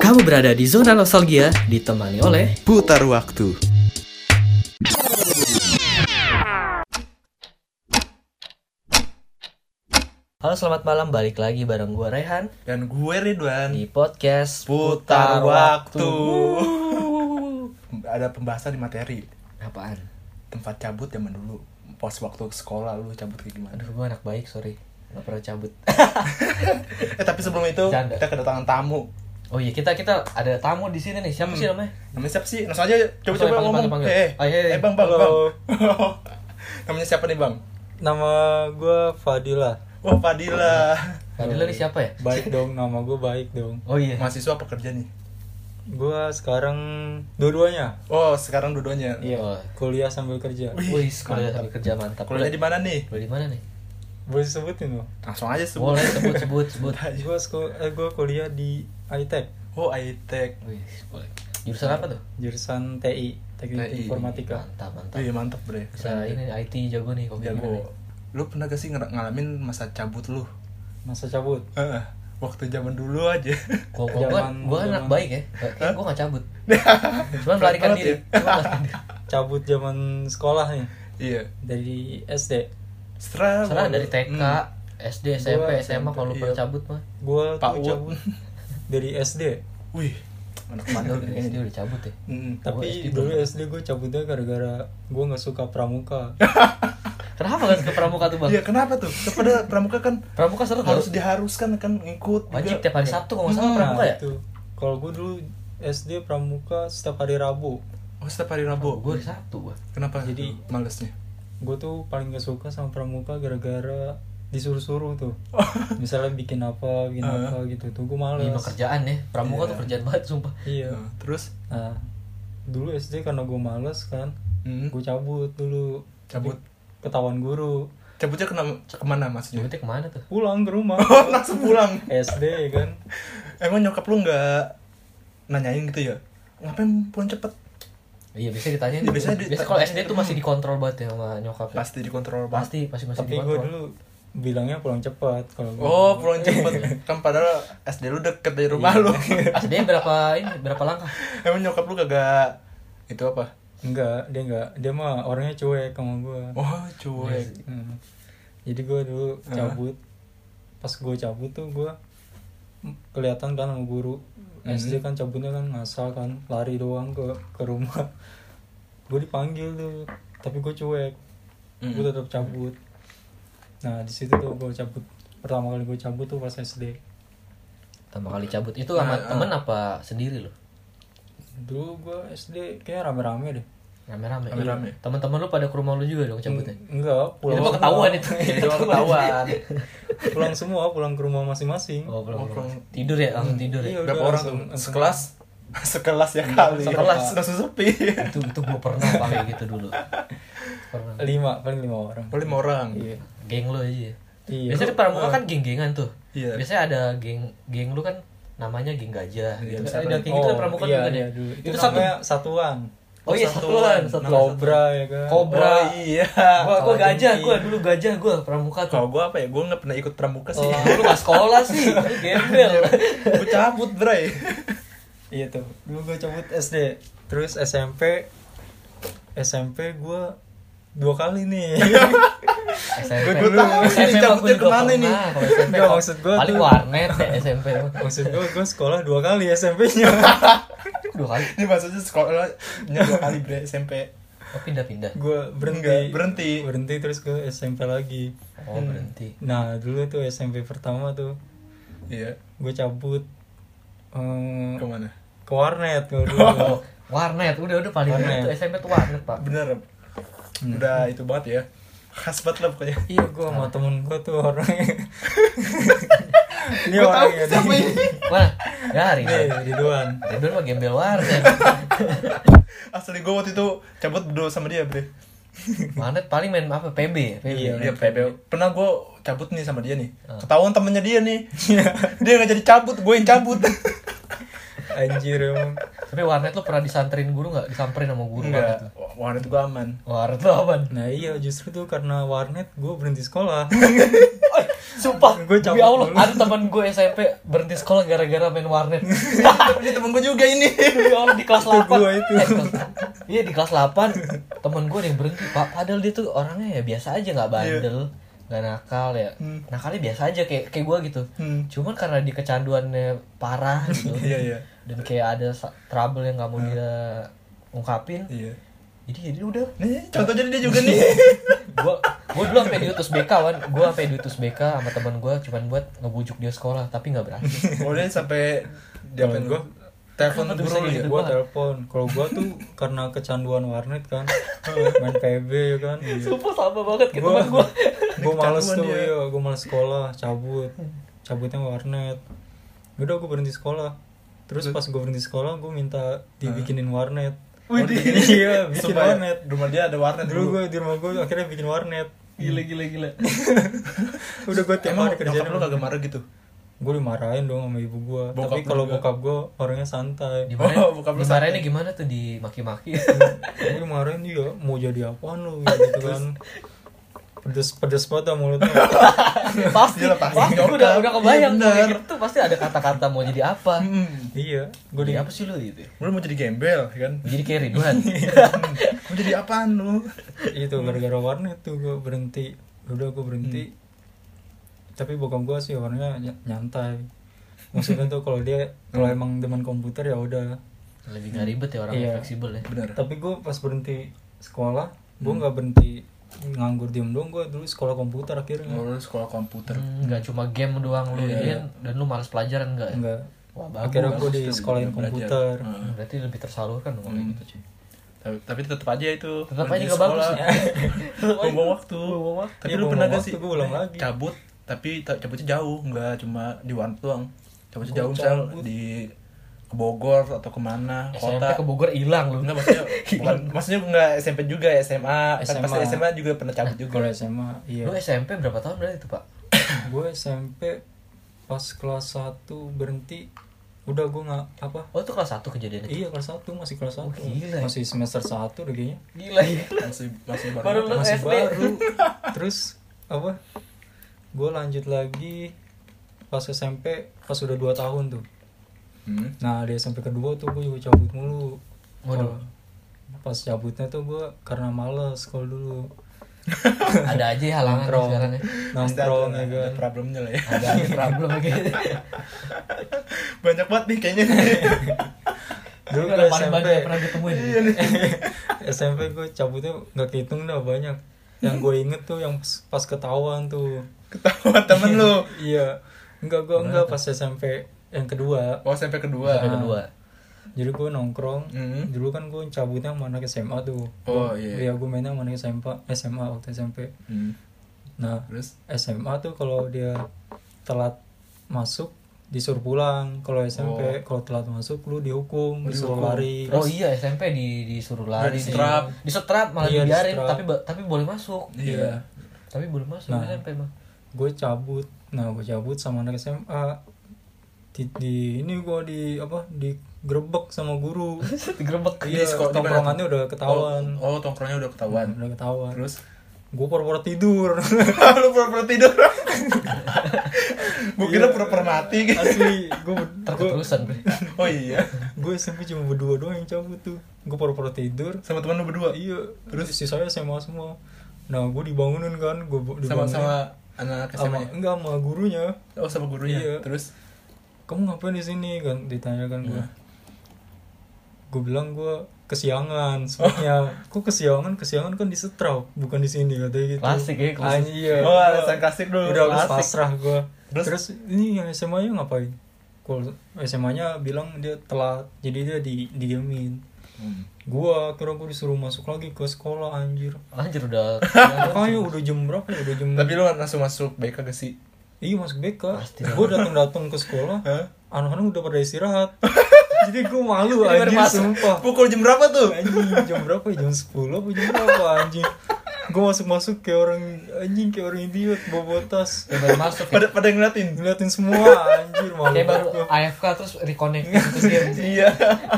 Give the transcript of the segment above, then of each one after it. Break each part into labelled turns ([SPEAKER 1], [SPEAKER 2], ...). [SPEAKER 1] Kamu berada di zona nostalgia ditemani oleh
[SPEAKER 2] Putar waktu.
[SPEAKER 1] Halo selamat malam balik lagi bareng gue Rehan
[SPEAKER 2] Dan gue Ridwan.
[SPEAKER 1] di podcast
[SPEAKER 2] Putar Waktu.
[SPEAKER 1] Wuh.
[SPEAKER 2] Ada pembahasan di materi
[SPEAKER 1] Apaan?
[SPEAKER 2] tempat cabut zaman dulu. Pas waktu sekolah lu cabut kayak gimana?
[SPEAKER 1] Aduh gue anak baik sorry nggak pernah cabut.
[SPEAKER 2] Eh tapi sebelum itu
[SPEAKER 1] Bercanda.
[SPEAKER 2] kita kedatangan tamu.
[SPEAKER 1] oh iya kita kita ada tamu di sini nih siapa sih namanya?
[SPEAKER 2] Namanya siapa sih? Langsung aja
[SPEAKER 1] Langsung
[SPEAKER 2] coba coba
[SPEAKER 1] aja panggil,
[SPEAKER 2] ngomong.
[SPEAKER 1] panggil,
[SPEAKER 2] Eh,
[SPEAKER 1] panggil. Ah, iya, iya.
[SPEAKER 2] eh bang bang
[SPEAKER 3] Halo.
[SPEAKER 2] bang. Namanya siapa nih bang?
[SPEAKER 3] Nama gue Fadila.
[SPEAKER 2] Wah Fadila.
[SPEAKER 1] Fadila nih siapa ya?
[SPEAKER 3] Baik dong, nama gue baik dong.
[SPEAKER 1] Oh iya.
[SPEAKER 2] Mahasiswa apa kerja nih?
[SPEAKER 3] Gue sekarang dua-duanya
[SPEAKER 2] Oh sekarang dua-duanya.
[SPEAKER 1] Oh.
[SPEAKER 3] kuliah sambil kerja.
[SPEAKER 2] Wih,
[SPEAKER 1] Wih, sekolah
[SPEAKER 2] mantap.
[SPEAKER 1] sambil kerja mantap.
[SPEAKER 2] Kuliahnya di mana nih?
[SPEAKER 1] Kuliah di mana nih?
[SPEAKER 3] Boleh sebutin loh.
[SPEAKER 2] Langsung aja sebut.
[SPEAKER 1] Boleh sebut sebut sebut.
[SPEAKER 3] Gue eh, gua kuliah di E ITEK,
[SPEAKER 2] Oh ITEK.
[SPEAKER 1] Wih, boleh. Jurusan apa tuh?
[SPEAKER 3] jurusan TI, Teknik
[SPEAKER 2] TI.
[SPEAKER 3] Informatika.
[SPEAKER 1] Mantap mantap.
[SPEAKER 2] Wih mantap Iya, bre.
[SPEAKER 1] Bisa ini IT jago nih kok
[SPEAKER 2] Jago. Lu pernah gak sih nger- ngalamin masa cabut lu?
[SPEAKER 3] Masa cabut.
[SPEAKER 2] Heeh, waktu zaman dulu aja.
[SPEAKER 1] Gua gua gua,
[SPEAKER 3] Zaman-
[SPEAKER 1] gua anak
[SPEAKER 3] zaman-
[SPEAKER 1] baik ya. Kayak gua gak cabut. Cuman melarikan
[SPEAKER 2] Berat
[SPEAKER 1] diri.
[SPEAKER 2] ya?
[SPEAKER 1] Cuman melarikan diri.
[SPEAKER 3] Cabut zaman sekolah nih
[SPEAKER 2] iya.
[SPEAKER 3] dari SD.
[SPEAKER 2] Setelah
[SPEAKER 1] Salah dari TK, SD, SMP,
[SPEAKER 3] Gua
[SPEAKER 1] SMA kalau lu
[SPEAKER 2] iya.
[SPEAKER 1] pernah cabut mah.
[SPEAKER 3] Gue
[SPEAKER 2] Pak
[SPEAKER 3] tuh
[SPEAKER 2] Ut.
[SPEAKER 3] cabut dari SD.
[SPEAKER 2] Wih,
[SPEAKER 1] Padahal
[SPEAKER 2] anak bandel
[SPEAKER 1] dari SD
[SPEAKER 2] kayaknya.
[SPEAKER 1] udah cabut ya.
[SPEAKER 2] Mm.
[SPEAKER 3] Tapi
[SPEAKER 1] SD
[SPEAKER 3] dulu
[SPEAKER 1] belum.
[SPEAKER 3] SD gue cabutnya gara-gara gue nggak suka pramuka.
[SPEAKER 1] Kenapa gak ke pramuka tuh, Bang?
[SPEAKER 2] Iya, kenapa tuh? Kepada pramuka kan
[SPEAKER 1] Pramuka seru harus
[SPEAKER 2] harus diharuskan kan ngikut juga.
[SPEAKER 1] wajib tiap hari Sabtu kalau nggak salah
[SPEAKER 3] Nah,
[SPEAKER 1] pramuka ya?
[SPEAKER 3] itu. Kalau gue dulu SD pramuka setiap hari Rabu.
[SPEAKER 2] Oh, setiap hari
[SPEAKER 1] Oh,
[SPEAKER 2] Rabu.
[SPEAKER 1] gua hari Sabtu gua.
[SPEAKER 2] Kenapa? Jadi
[SPEAKER 3] Jadi-
[SPEAKER 2] malesnya.
[SPEAKER 3] Gue tuh paling gak suka sama pramuka gara-gara disuruh-suruh tuh. Misalnya bikin apa, bikin
[SPEAKER 2] Ah.
[SPEAKER 3] apa gitu. Tuh gue
[SPEAKER 1] Ini
[SPEAKER 3] males.
[SPEAKER 1] mah kerjaan ya. Pramuka
[SPEAKER 2] Iya.
[SPEAKER 1] tuh kerjaan banget sumpah.
[SPEAKER 3] Iya.
[SPEAKER 2] Nah, terus
[SPEAKER 3] Nah, dulu SD karena gue males kan,
[SPEAKER 2] mm,
[SPEAKER 3] gue cabut dulu.
[SPEAKER 2] Cabut.
[SPEAKER 3] Tapi Ketahuan guru.
[SPEAKER 2] cabutnya kena kemana maksudnya?
[SPEAKER 1] Cabutnya kemana tuh?
[SPEAKER 3] Pulang ke rumah.
[SPEAKER 2] Oh, langsung pulang.
[SPEAKER 3] SD ya kan.
[SPEAKER 2] Emang nyokap lu nggak nanyain gitu ya? Ngapain pulang cepet?
[SPEAKER 1] Iya, biasanya ditanyain.
[SPEAKER 2] Iya, biasanya
[SPEAKER 1] Biasanya, kalau SD tuh masih dikontrol banget ya sama nyokap. ya.
[SPEAKER 2] Pasti dikontrol banget.
[SPEAKER 1] Pasti pasti masih
[SPEAKER 3] Tapi gue
[SPEAKER 1] dikontrol.
[SPEAKER 3] dulu bilangnya pulang cepat kalau gua.
[SPEAKER 2] Oh, pulang cepet. kan padahal SD lu deket dari rumah lu.
[SPEAKER 1] SD berapa ini berapa langkah?
[SPEAKER 2] Emang nyokap lu kagak itu apa?
[SPEAKER 3] Enggak, dia enggak. Dia mah orangnya cuek sama gue.
[SPEAKER 2] Oh, cuek.
[SPEAKER 3] Hmm. Jadi gue dulu
[SPEAKER 2] Hah?
[SPEAKER 3] cabut, pas gue cabut tuh gue kelihatan kan sama guru
[SPEAKER 1] Hmm.
[SPEAKER 3] SD kan cabutnya kan ngasal kan lari doang ke ke rumah. gue dipanggil tuh, tapi gue cuek.
[SPEAKER 1] Hmm.
[SPEAKER 3] Gue tetap cabut. Nah di situ tuh gue cabut. Pertama kali gue cabut tuh pas SD.
[SPEAKER 1] Pertama kali cabut itu sama temen apa sendiri lo?
[SPEAKER 3] Dulu gue SD kayak rame-rame deh.
[SPEAKER 1] Rame-rame.
[SPEAKER 2] Rame-rame.
[SPEAKER 1] Iya. Teman-teman lu pada ke rumah lu juga dong cabutnya.
[SPEAKER 3] Enggak, Hmm, pulang. Iya,
[SPEAKER 1] itu mah
[SPEAKER 3] semua.
[SPEAKER 1] ketahuan itu.
[SPEAKER 2] Jadi orang ketahuan.
[SPEAKER 3] Pulang semua, pulang ke rumah masing-masing.
[SPEAKER 1] Oh, pulang,
[SPEAKER 2] Oh,
[SPEAKER 1] pulang.
[SPEAKER 2] pulang.
[SPEAKER 1] Tidur ya, langsung tidur ya.
[SPEAKER 3] Iya,
[SPEAKER 2] Berapa
[SPEAKER 3] udah,
[SPEAKER 2] orang tuh?
[SPEAKER 3] langsung- langsung-
[SPEAKER 2] Sekelas? Sekelas ya kali.
[SPEAKER 1] Sekelas.
[SPEAKER 2] Langsung sepi.
[SPEAKER 1] itu itu gua pernah pakai gitu dulu. Pernah.
[SPEAKER 3] Lima, paling lima orang.
[SPEAKER 2] Paling lima orang.
[SPEAKER 3] Iya.
[SPEAKER 1] Geng lu aja. ya.
[SPEAKER 3] Iya.
[SPEAKER 1] Biasanya di pramuka kan geng-gengan tuh.
[SPEAKER 2] Iya.
[SPEAKER 1] Biasanya ada geng geng lu kan namanya geng gajah
[SPEAKER 2] Iya,
[SPEAKER 1] gitu.
[SPEAKER 2] misalkan.
[SPEAKER 1] Ada geng gitu kan pramuka
[SPEAKER 3] iya,
[SPEAKER 1] juga
[SPEAKER 3] iya,
[SPEAKER 1] deh.
[SPEAKER 3] dulu. Itu,
[SPEAKER 1] Itu satu
[SPEAKER 3] namanya satuan.
[SPEAKER 1] Oh iya, satuan, satuan.
[SPEAKER 3] Kobra ya kan.
[SPEAKER 1] Kobra.
[SPEAKER 2] Oh, iya.
[SPEAKER 1] Gua gua
[SPEAKER 3] Kalau
[SPEAKER 1] gajah,
[SPEAKER 3] gengki.
[SPEAKER 1] gua dulu gajah gua pramuka tuh.
[SPEAKER 2] Kalau gua apa ya? Gua nggak pernah ikut pramuka sih.
[SPEAKER 1] Oh, lu gak sekolah sih, lu gembel.
[SPEAKER 2] Gua cabut, Bray.
[SPEAKER 3] Iya tuh. Dulu gue cabut SD. Terus SMP SMP gue dua kali nih.
[SPEAKER 1] SMP.
[SPEAKER 2] Gua dulu tahu
[SPEAKER 1] SMP mah
[SPEAKER 2] sih
[SPEAKER 1] gua
[SPEAKER 2] dicabutnya
[SPEAKER 1] juga
[SPEAKER 2] kemana
[SPEAKER 1] pernah.
[SPEAKER 2] nih.
[SPEAKER 1] Kalau SMP
[SPEAKER 3] Nggak,
[SPEAKER 1] kok
[SPEAKER 3] maksud gua
[SPEAKER 1] paling
[SPEAKER 3] tuh-
[SPEAKER 1] warnet ya SMP mah.
[SPEAKER 3] Maksud gue gue sekolah dua kali SMP-nya.
[SPEAKER 1] Dua kali.
[SPEAKER 2] Ini maksudnya sekolahnya dua kali, Bray, SMP.
[SPEAKER 1] Oh, pindah-pindah.
[SPEAKER 3] gue berhenti.
[SPEAKER 2] Enggak, berhenti.
[SPEAKER 3] Berhenti terus ke SMP lagi.
[SPEAKER 1] Oh, berhenti.
[SPEAKER 3] Nah dulu tuh SMP pertama tuh
[SPEAKER 2] Iya.
[SPEAKER 3] gue cabut eh,
[SPEAKER 2] Kemana?
[SPEAKER 3] ke warnet gue dulu.
[SPEAKER 1] Warnet, udah udah paling
[SPEAKER 3] Warnet.
[SPEAKER 1] itu SMP tuh warnet, Pak.
[SPEAKER 2] Bener. Udah itu banget ya. Khas banget lah pokoknya.
[SPEAKER 3] Iya gue sama temen gue tuh orangnya Ini
[SPEAKER 2] Gua tahu
[SPEAKER 3] orangnya
[SPEAKER 2] siapa
[SPEAKER 3] nih.
[SPEAKER 2] ini.
[SPEAKER 1] Mana? Ya,
[SPEAKER 2] Iya,
[SPEAKER 1] Ridwan.
[SPEAKER 3] Nih Ridwan
[SPEAKER 1] Ridwan mah gembel warnet.
[SPEAKER 2] Asli gue waktu itu cabut berdua sama dia, Bre.
[SPEAKER 1] Warnet paling main apa? PB ya? PB.
[SPEAKER 3] Iya.
[SPEAKER 2] Iya, Ah. PB. Pernah gue cabut nih sama dia nih. Ketahuan temennya dia nih. dia nggak jadi cabut, gue yang cabut.
[SPEAKER 3] Anjir emang
[SPEAKER 1] Tapi warnet lu pernah disanterin guru nggak? Disamperin sama guru warnet lu?
[SPEAKER 2] Enggak. Wah, itu gue aman.
[SPEAKER 1] Warnet lu apa?
[SPEAKER 3] Nah iya justru tuh karena warnet gue berhenti sekolah
[SPEAKER 1] Sumpah,
[SPEAKER 3] Gua
[SPEAKER 1] demi
[SPEAKER 3] cabut
[SPEAKER 1] Allah,
[SPEAKER 3] dulu.
[SPEAKER 1] ada teman gue SMP berhenti sekolah gara-gara main warnet.
[SPEAKER 2] ini temen gue juga ini
[SPEAKER 1] Demi Allah Iya, di kelas
[SPEAKER 3] Itu
[SPEAKER 1] 8.
[SPEAKER 3] gua itu.
[SPEAKER 1] Eh, di kelas- iya di kelas 8 temen gue ada yang berhenti pak padahal dia tuh orangnya ya biasa aja nggak bandel nggak nakal ya
[SPEAKER 2] Hmm.
[SPEAKER 1] nakalnya biasa aja kayak kayak gue gitu
[SPEAKER 2] Hmm.
[SPEAKER 1] cuman karena di kecanduannya parah gitu
[SPEAKER 2] iya iya
[SPEAKER 1] dan kayak ada sa- trouble yang nggak mau dia ungkapin
[SPEAKER 2] iya
[SPEAKER 1] jadi jadi udah
[SPEAKER 2] nih contoh jadi dia juga nih
[SPEAKER 1] gua gua dulu sampai diutus BK wan gua sampai diutus BK sama teman gua cuman buat ngebujuk dia sekolah tapi nggak berhasil
[SPEAKER 2] boleh sampai diapain gue telepon
[SPEAKER 1] Kenapa
[SPEAKER 2] guru
[SPEAKER 1] bisa
[SPEAKER 2] lu
[SPEAKER 1] gitu?
[SPEAKER 2] ya
[SPEAKER 3] gua telepon kalau gua tuh karena kecanduan warnet kan main PB ya kan
[SPEAKER 1] sumpah sama banget
[SPEAKER 3] kayak
[SPEAKER 1] kayak
[SPEAKER 3] teman
[SPEAKER 1] teman
[SPEAKER 3] gua.
[SPEAKER 1] gua
[SPEAKER 3] gue males
[SPEAKER 2] Kecanduan
[SPEAKER 3] tuh
[SPEAKER 2] dia.
[SPEAKER 3] iya gue males sekolah cabut cabutnya warnet udah gue berhenti sekolah terus pas gue berhenti sekolah gue minta dibikinin warnet
[SPEAKER 2] Wih,
[SPEAKER 3] iya bikin
[SPEAKER 2] Sumpah ya,
[SPEAKER 3] warnet
[SPEAKER 2] rumah dia ada warnet
[SPEAKER 3] dulu gue di rumah gue akhirnya bikin warnet
[SPEAKER 1] gila gila gila
[SPEAKER 3] udah gue tiap
[SPEAKER 2] emang
[SPEAKER 3] hari kerjaan
[SPEAKER 2] nyokap lu kagak marah gitu
[SPEAKER 3] gue dimarahin dong sama ibu gue
[SPEAKER 2] Bokap
[SPEAKER 3] tapi
[SPEAKER 2] lu
[SPEAKER 3] kalau
[SPEAKER 2] juga.
[SPEAKER 3] bokap gue orangnya santai
[SPEAKER 1] di mana
[SPEAKER 2] Oh, bukan
[SPEAKER 1] di
[SPEAKER 2] perusahaan.
[SPEAKER 1] ini gimana tuh dimaki-maki
[SPEAKER 3] gue dimarahin dia mau jadi apaan lu gitu kan pedes pedes banget dah mulutnya
[SPEAKER 1] pasti
[SPEAKER 2] Gila, pasti.
[SPEAKER 1] pasti gua udah udah kebayang gua
[SPEAKER 2] Iya,
[SPEAKER 1] kayak
[SPEAKER 2] bener.
[SPEAKER 1] gitu tuh pasti ada kata-kata mau jadi apa
[SPEAKER 2] hmm.
[SPEAKER 3] iya gue di
[SPEAKER 1] jadi apa sih lu gitu
[SPEAKER 2] lu mau jadi gembel ya kan
[SPEAKER 1] jadi kayak Ridwan
[SPEAKER 2] mau jadi apaan lu
[SPEAKER 3] itu gara-gara warnet tuh gue berhenti Ya udah gue berhenti
[SPEAKER 2] Hmm.
[SPEAKER 3] tapi bokap gue sih orangnya ny- nyantai maksudnya tuh kalau dia kalau
[SPEAKER 2] Hmm.
[SPEAKER 3] emang demen komputer ya udah
[SPEAKER 1] lebih nggak ribet ya orang
[SPEAKER 3] Iya.
[SPEAKER 1] fleksibel ya
[SPEAKER 2] bener Hmm.
[SPEAKER 3] tapi gue pas berhenti sekolah gue nggak berhenti nganggur diem doang gue dulu sekolah komputer akhirnya
[SPEAKER 2] lu sekolah komputer
[SPEAKER 1] Hmm, nggak cuma game doang lu ini dan lu malas pelajaran nggak ya?
[SPEAKER 3] nggak
[SPEAKER 1] wah bagus
[SPEAKER 3] akhirnya gue di sekolahin
[SPEAKER 2] belajar. Ah.
[SPEAKER 3] komputer
[SPEAKER 1] Hmm. berarti lebih tersalurkan dong kalau
[SPEAKER 3] Hmm.
[SPEAKER 2] Mm.
[SPEAKER 1] kayak gitu cuy
[SPEAKER 2] tapi, tapi tetap aja itu
[SPEAKER 1] Tetap
[SPEAKER 2] pergi
[SPEAKER 1] aja nggak bagus,
[SPEAKER 2] sekolah.
[SPEAKER 1] ya. Tetap aja.
[SPEAKER 2] buang waktu
[SPEAKER 1] Buang waktu.
[SPEAKER 2] tapi
[SPEAKER 3] Iya,
[SPEAKER 2] lu
[SPEAKER 3] buang
[SPEAKER 2] pernah gak
[SPEAKER 3] waktu,
[SPEAKER 2] sih
[SPEAKER 3] gua ulang lagi.
[SPEAKER 2] cabut tapi ta- cabutnya jauh nggak cuma di warnet doang cabutnya
[SPEAKER 3] Gua
[SPEAKER 2] jauh misal
[SPEAKER 3] cabut.
[SPEAKER 2] di ke Bogor atau kemana
[SPEAKER 1] SMP
[SPEAKER 2] kota
[SPEAKER 1] ke Bogor hilang lu
[SPEAKER 2] Enggak maksudnya bukan, maksudnya enggak SMP juga SMA, kan
[SPEAKER 3] SMA.
[SPEAKER 2] pasti SMA juga pernah cabut juga.
[SPEAKER 3] kalau SMA iya
[SPEAKER 1] Lu SMP berapa tahun berarti itu pak?
[SPEAKER 3] gue SMP pas kelas 1 berhenti udah gue nggak apa
[SPEAKER 1] Oh itu kelas 1 kejadiannya
[SPEAKER 3] Iya kelas 1 masih kelas 1
[SPEAKER 1] gila ya.
[SPEAKER 3] Masih semester 1 udah kayaknya
[SPEAKER 1] Gila ya
[SPEAKER 2] Masih masih baru.
[SPEAKER 1] Baru lu
[SPEAKER 3] Masih
[SPEAKER 1] SD
[SPEAKER 3] baru Terus apa Gue lanjut lagi Pas SMP Pas udah 2 tahun tuh
[SPEAKER 2] Hmm.
[SPEAKER 3] Nah di SMP kedua tuh gue juga cabut mulu
[SPEAKER 1] Waduh.
[SPEAKER 3] Kalau- Pas cabutnya tuh gue karena males kalau dulu
[SPEAKER 1] Ada aja ya halangan
[SPEAKER 3] Nongkrong.
[SPEAKER 1] sekarang ya
[SPEAKER 2] Pasti ada-
[SPEAKER 3] Nongkrong ya
[SPEAKER 2] ada
[SPEAKER 3] kan
[SPEAKER 2] problemnya lah ya.
[SPEAKER 1] Ada ada problem gitu
[SPEAKER 2] Banyak banget nih kayaknya.
[SPEAKER 3] Dulu
[SPEAKER 1] Itu yang
[SPEAKER 3] kan gue
[SPEAKER 1] paling
[SPEAKER 3] SMP
[SPEAKER 1] banyak yang pernah ditemuin
[SPEAKER 3] SMP gue cabutnya gak kehitung dah banyak Yang gue inget tuh yang pas- pas ketahuan tuh
[SPEAKER 2] Ketawa temen lu.
[SPEAKER 3] Iya. Enggak gua enggak pas SMP yang kedua.
[SPEAKER 2] Oh, SMP kedua.
[SPEAKER 3] Iya.
[SPEAKER 1] Ada kedua
[SPEAKER 3] Jadi gua nongkrong.
[SPEAKER 2] Hmm.
[SPEAKER 3] Dulu kan gua cabutnya sama anak SMA tuh.
[SPEAKER 2] Oh,
[SPEAKER 3] Gua-
[SPEAKER 2] iya.
[SPEAKER 3] Iya, gua mainnya sama anak SMA, SMA waktu SMP.
[SPEAKER 2] Hmm.
[SPEAKER 3] Nah,
[SPEAKER 2] Terus
[SPEAKER 3] SMA tuh kalau dia telat masuk disuruh pulang. Kalau
[SPEAKER 2] Oh.
[SPEAKER 3] SMP kalau telat masuk lu dihukum, disuruh lari.
[SPEAKER 1] Oh iya SMP di disuruh lari
[SPEAKER 2] Di setrap.
[SPEAKER 1] di- Di setrap malah
[SPEAKER 3] Iya, di
[SPEAKER 1] dibiarin
[SPEAKER 3] setrap.
[SPEAKER 1] tapi ba- tapi boleh masuk
[SPEAKER 2] iya.
[SPEAKER 1] Tapi boleh masuk
[SPEAKER 3] Nah.
[SPEAKER 1] SMP mah
[SPEAKER 3] Gue cabut. Nah, gue cabut sama anak SMA. Di, di- ini gua di apa? Digrebek sama guru.
[SPEAKER 1] Digerebek
[SPEAKER 3] Iya,
[SPEAKER 2] sekolah- di mana
[SPEAKER 3] tongkrongannya udah ketahuan.
[SPEAKER 2] Oh, oh, tongkrongnya udah ketahuan.
[SPEAKER 3] udah ketahuan
[SPEAKER 2] Terus
[SPEAKER 3] gue pura-pura tidur
[SPEAKER 2] lu pura-pura tidur. Gue kira pura-pura mati gitu.
[SPEAKER 3] asli gue
[SPEAKER 1] Terketerusan bre
[SPEAKER 2] Oh iya.
[SPEAKER 3] gue SMP cuma berdua doang yang cabut tuh gue pura-pura tidur
[SPEAKER 2] Sama temen lu berdua.
[SPEAKER 3] iya terus sisanya SMA semua nah gue dibangunin kan gue
[SPEAKER 2] Sama sama anak SMA.
[SPEAKER 3] sama
[SPEAKER 2] -nya.
[SPEAKER 3] enggak sama gurunya
[SPEAKER 2] ya? Oh, sama gurunya.
[SPEAKER 3] Iya.
[SPEAKER 2] Terus
[SPEAKER 3] kamu ngapain di sini kan ditanyakan gue
[SPEAKER 2] Hmm.
[SPEAKER 3] gue bilang gue kesiangan sebenarnya
[SPEAKER 2] Oh.
[SPEAKER 3] kok kesiangan kesiangan kan di setrap bukan di sini katanya gitu
[SPEAKER 1] Klasik ya, klasik.
[SPEAKER 3] Ah, iya
[SPEAKER 2] Oh,
[SPEAKER 3] Gua-
[SPEAKER 2] alasan klasik dulu,
[SPEAKER 3] udah udah
[SPEAKER 2] klasik.
[SPEAKER 3] pasrah gue
[SPEAKER 2] Terus?
[SPEAKER 3] terus, ini yang SMA nya ngapain kalau SMA nya bilang dia telat jadi dia di didiemin gue kira gue disuruh masuk lagi ke sekolah anjir
[SPEAKER 1] Anjir udah
[SPEAKER 3] makanya udah jam berapa ya udah jam
[SPEAKER 2] Tapi lu langsung masuk BK gak sih?
[SPEAKER 3] Iya masuk BK.
[SPEAKER 1] Pasti
[SPEAKER 3] Gue datang datang ke sekolah,
[SPEAKER 2] Hah?
[SPEAKER 3] anak-anak udah pada istirahat. Jadi gue malu
[SPEAKER 2] Ini baru
[SPEAKER 3] anjing
[SPEAKER 2] masuk.
[SPEAKER 3] sumpah.
[SPEAKER 2] Pukul jam berapa tuh?
[SPEAKER 3] Anjing jam berapa ya? Jam 10 apa jam berapa anjing? Gue masuk-masuk kayak orang anjing kayak orang idiot bawa bawa tas.
[SPEAKER 1] Udah baru masuk ya
[SPEAKER 2] Pada pada ngeliatin.
[SPEAKER 3] Ngeliatin semua anjir malu.
[SPEAKER 1] Kayak baru
[SPEAKER 3] banget gua.
[SPEAKER 1] AFK terus reconnect Gitu. terus dia
[SPEAKER 2] Iya.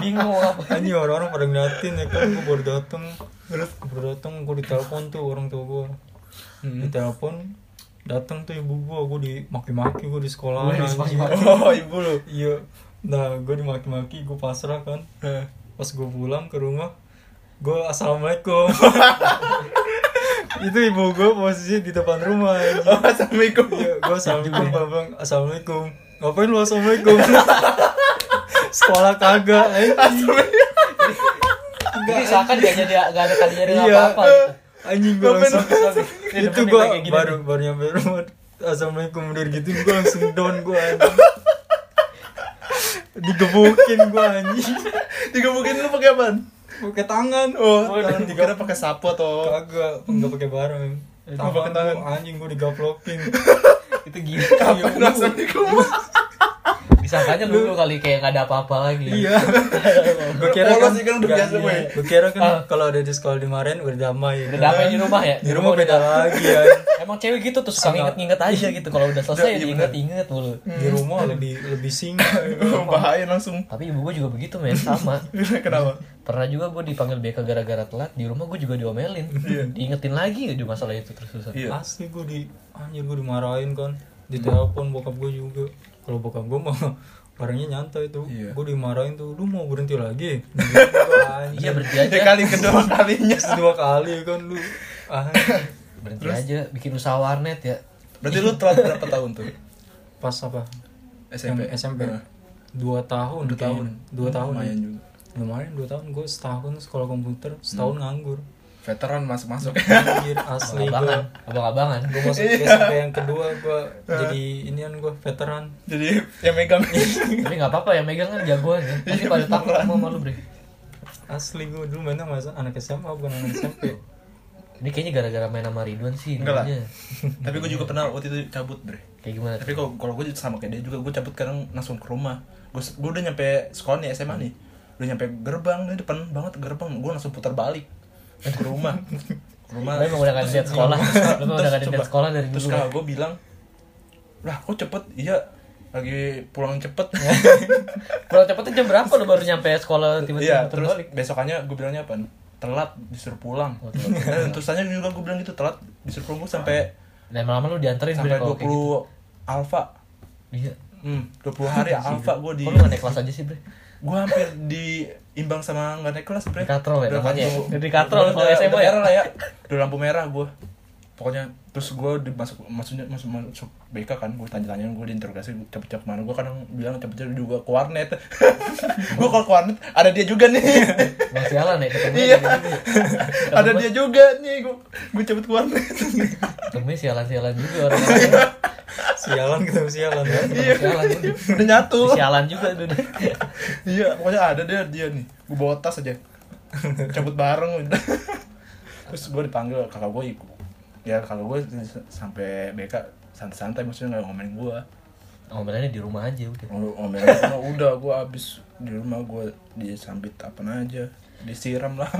[SPEAKER 1] bingung mau apa
[SPEAKER 3] Anjing orang-orang pada ngeliatin ya kan gue baru datang. Baru datang gue ditelepon tuh orang tua gue. Ditelepon datang tuh ibu gua gua dimaki-maki gua di sekolah
[SPEAKER 1] Gua dimaki-maki.
[SPEAKER 2] oh ibu lu
[SPEAKER 3] iya nah gua dimaki-maki gua pasrah kan
[SPEAKER 2] Eh,
[SPEAKER 3] pas gua pulang ke rumah gua assalamualaikum itu ibu gua posisi di depan rumah
[SPEAKER 2] oh assalamualaikum
[SPEAKER 3] iya gua assalamualaikum gua bilang assalamualaikum ngapain lu assalamualaikum sekolah kagak eh
[SPEAKER 1] Jadi seakan gak jadi gak ada tadinya dengan
[SPEAKER 3] Iya.
[SPEAKER 1] apa-apa gitu.
[SPEAKER 3] anjing gua
[SPEAKER 2] Ngapain lu
[SPEAKER 3] langsung
[SPEAKER 1] assalamualaikum?
[SPEAKER 3] itu
[SPEAKER 1] Depan
[SPEAKER 3] gua
[SPEAKER 1] kayak gini
[SPEAKER 3] baru baru nyampe rumah assalamualaikum udah gitu gua langsung down gua anjing digebukin gua anjing
[SPEAKER 2] digebukin lu pakai apaan
[SPEAKER 3] pakai tangan
[SPEAKER 2] oh
[SPEAKER 3] tangan
[SPEAKER 2] tangan
[SPEAKER 3] diga-
[SPEAKER 2] dikira pakai sapu atau
[SPEAKER 3] kagak nggak pakai barang
[SPEAKER 2] Nggak pakai tangan.
[SPEAKER 3] gua, anjing gue digaplokin
[SPEAKER 1] Itu gila
[SPEAKER 2] apa lu assalamualaikum
[SPEAKER 1] Disangkanya lu kali kayak gak ada apa-apa lagi
[SPEAKER 3] iya gue kira
[SPEAKER 2] Polos
[SPEAKER 3] kan
[SPEAKER 2] sih kan udah biasa,
[SPEAKER 3] Iya.
[SPEAKER 2] weh.
[SPEAKER 3] Gua kira kan
[SPEAKER 1] Ah.
[SPEAKER 3] kalau ada di sekolah dimarahin udah damai
[SPEAKER 1] Udah damai di rumah ya?
[SPEAKER 3] di rumah
[SPEAKER 1] udah
[SPEAKER 3] beda lagi ya
[SPEAKER 1] Emang cewek gitu tuh suka nginget-nginget aja gitu kalau udah selesai
[SPEAKER 2] Iya,
[SPEAKER 1] diinget-inget mulu.
[SPEAKER 3] di rumah lebih lebih singa
[SPEAKER 2] bahaya langsung
[SPEAKER 1] Tapi ibu gue juga begitu men sama.
[SPEAKER 2] kenapa
[SPEAKER 1] Pernah juga gue dipanggil BK gara-gara telat di rumah gue juga diomelin. Diingetin lagi di masalah itu terus susah.
[SPEAKER 2] iya
[SPEAKER 3] asli gue di anjir gue dimarahin kan ditelepon bokap gue juga kalau bokap gue mah orangnya nyantai tuh
[SPEAKER 2] Iya.
[SPEAKER 3] gue dimarahin tuh lu mau berhenti lagi Gua, anjir.
[SPEAKER 1] Iya berhenti
[SPEAKER 2] ya
[SPEAKER 1] aja.
[SPEAKER 2] kali kedua kalinya
[SPEAKER 3] Terus dua kali kan lu anjir.
[SPEAKER 1] Berhenti aja bikin usaha warnet ya.
[SPEAKER 2] berarti lu telat berapa tahun tuh
[SPEAKER 3] pas apa
[SPEAKER 2] SMP
[SPEAKER 3] Yang SMP
[SPEAKER 2] Nah,
[SPEAKER 3] dua tahun
[SPEAKER 2] Dua tahun. Hmm,
[SPEAKER 3] kayaknya. dua tahun
[SPEAKER 2] lumayan
[SPEAKER 3] ya.
[SPEAKER 2] juga
[SPEAKER 3] lumayan dua tahun gue setahun sekolah komputer setahun
[SPEAKER 2] Hmm.
[SPEAKER 3] nganggur
[SPEAKER 2] veteran masuk masuk
[SPEAKER 3] anjir asli gue
[SPEAKER 1] Abang-abangan, abang-abangan.
[SPEAKER 3] gue masuk
[SPEAKER 2] Iya.
[SPEAKER 3] ke SMP yang kedua gue jadi inian gue veteran
[SPEAKER 2] jadi yang megang
[SPEAKER 1] Tapi nggak apa-apa yang megang kan jagoan ya.
[SPEAKER 2] Iya,
[SPEAKER 1] Pasti pada takut sama sama lu, Bre.
[SPEAKER 3] asli gue dulu mainnya sama anak SMA bukan anak SMP
[SPEAKER 1] Ini kayaknya gara-gara main sama Ridwan sih
[SPEAKER 2] Enggak lah.
[SPEAKER 1] dulunya.
[SPEAKER 2] tapi gue juga pernah waktu itu cabut bre
[SPEAKER 1] Kayak gimana?
[SPEAKER 2] tapi kalau kalau gue sama kayak dia juga gue cabut kadang langsung ke rumah gue gue udah nyampe sekolah nih SMA nih udah nyampe gerbang nih depan banget gerbang gue langsung putar balik ke rumah ke rumah
[SPEAKER 1] Lu emang udah gak ada niat sekolah. Lu emang udah gak ada niat sekolah dari
[SPEAKER 2] terus
[SPEAKER 1] dulu.
[SPEAKER 2] kakak gue bilang lah kok cepet iya lagi pulang cepet
[SPEAKER 1] Kalau cepetnya jam berapa lu baru nyampe sekolah
[SPEAKER 2] iya
[SPEAKER 1] tiba-tiba
[SPEAKER 2] terus
[SPEAKER 1] terbalik?
[SPEAKER 2] besokannya gue bilangnya apa telat disuruh pulang
[SPEAKER 1] Oh, telat.
[SPEAKER 2] dan terusannya juga gue bilang gitu telat disuruh pulang gue sampai
[SPEAKER 1] Lama-lama lu dianterin
[SPEAKER 2] sampai
[SPEAKER 1] Bre,
[SPEAKER 2] dua
[SPEAKER 1] kalau kayak gitu.
[SPEAKER 2] puluh alfa
[SPEAKER 1] Iya.
[SPEAKER 2] hmm dua puluh hari alfa gue di
[SPEAKER 1] Kok lu gak naik kelas aja sih, Bre?
[SPEAKER 2] gue hampir diimbang sama nggak naik kelas
[SPEAKER 1] Di
[SPEAKER 2] bre
[SPEAKER 1] katrol ya
[SPEAKER 2] Udah
[SPEAKER 1] namanya
[SPEAKER 2] lampu-
[SPEAKER 1] ya? Di katrol
[SPEAKER 2] udah-
[SPEAKER 1] kalau
[SPEAKER 2] udah-
[SPEAKER 1] SMA
[SPEAKER 2] udah
[SPEAKER 1] ya?
[SPEAKER 2] merah lah ya udah lampu merah gue pokoknya terus gue dimasuk maksudnya masuk masuk BK kan gue tanya-tanya gue diinterogasi gua cepet-cepet mana gue kadang bilang cepet-cepet juga ke warnet gue kalau ke warnet ada dia juga nih
[SPEAKER 1] Nggak sialan ya ketemu
[SPEAKER 2] iya ada dia juga nih gue gue cepet ke warnet
[SPEAKER 1] Ketemu sialan-sialan juga
[SPEAKER 2] Iya,
[SPEAKER 1] orang-orang.
[SPEAKER 3] sialan ketemu sialan ya
[SPEAKER 1] Iya. Sialan juga.
[SPEAKER 2] udah nyatu
[SPEAKER 1] Sialan juga tuh. deh.
[SPEAKER 2] iya pokoknya ada dia dia nih gue bawa tas aja cabut bareng udah. terus gue dipanggil kakak gue ikut ya kakak gue s- sampai BK santai-santai maksudnya nggak ngomelin gue
[SPEAKER 1] Ngomelannya Oh, di rumah aja udah.
[SPEAKER 2] Ngom- ngomelin gue udah gue abis di rumah gue disambit apa aja disiram lah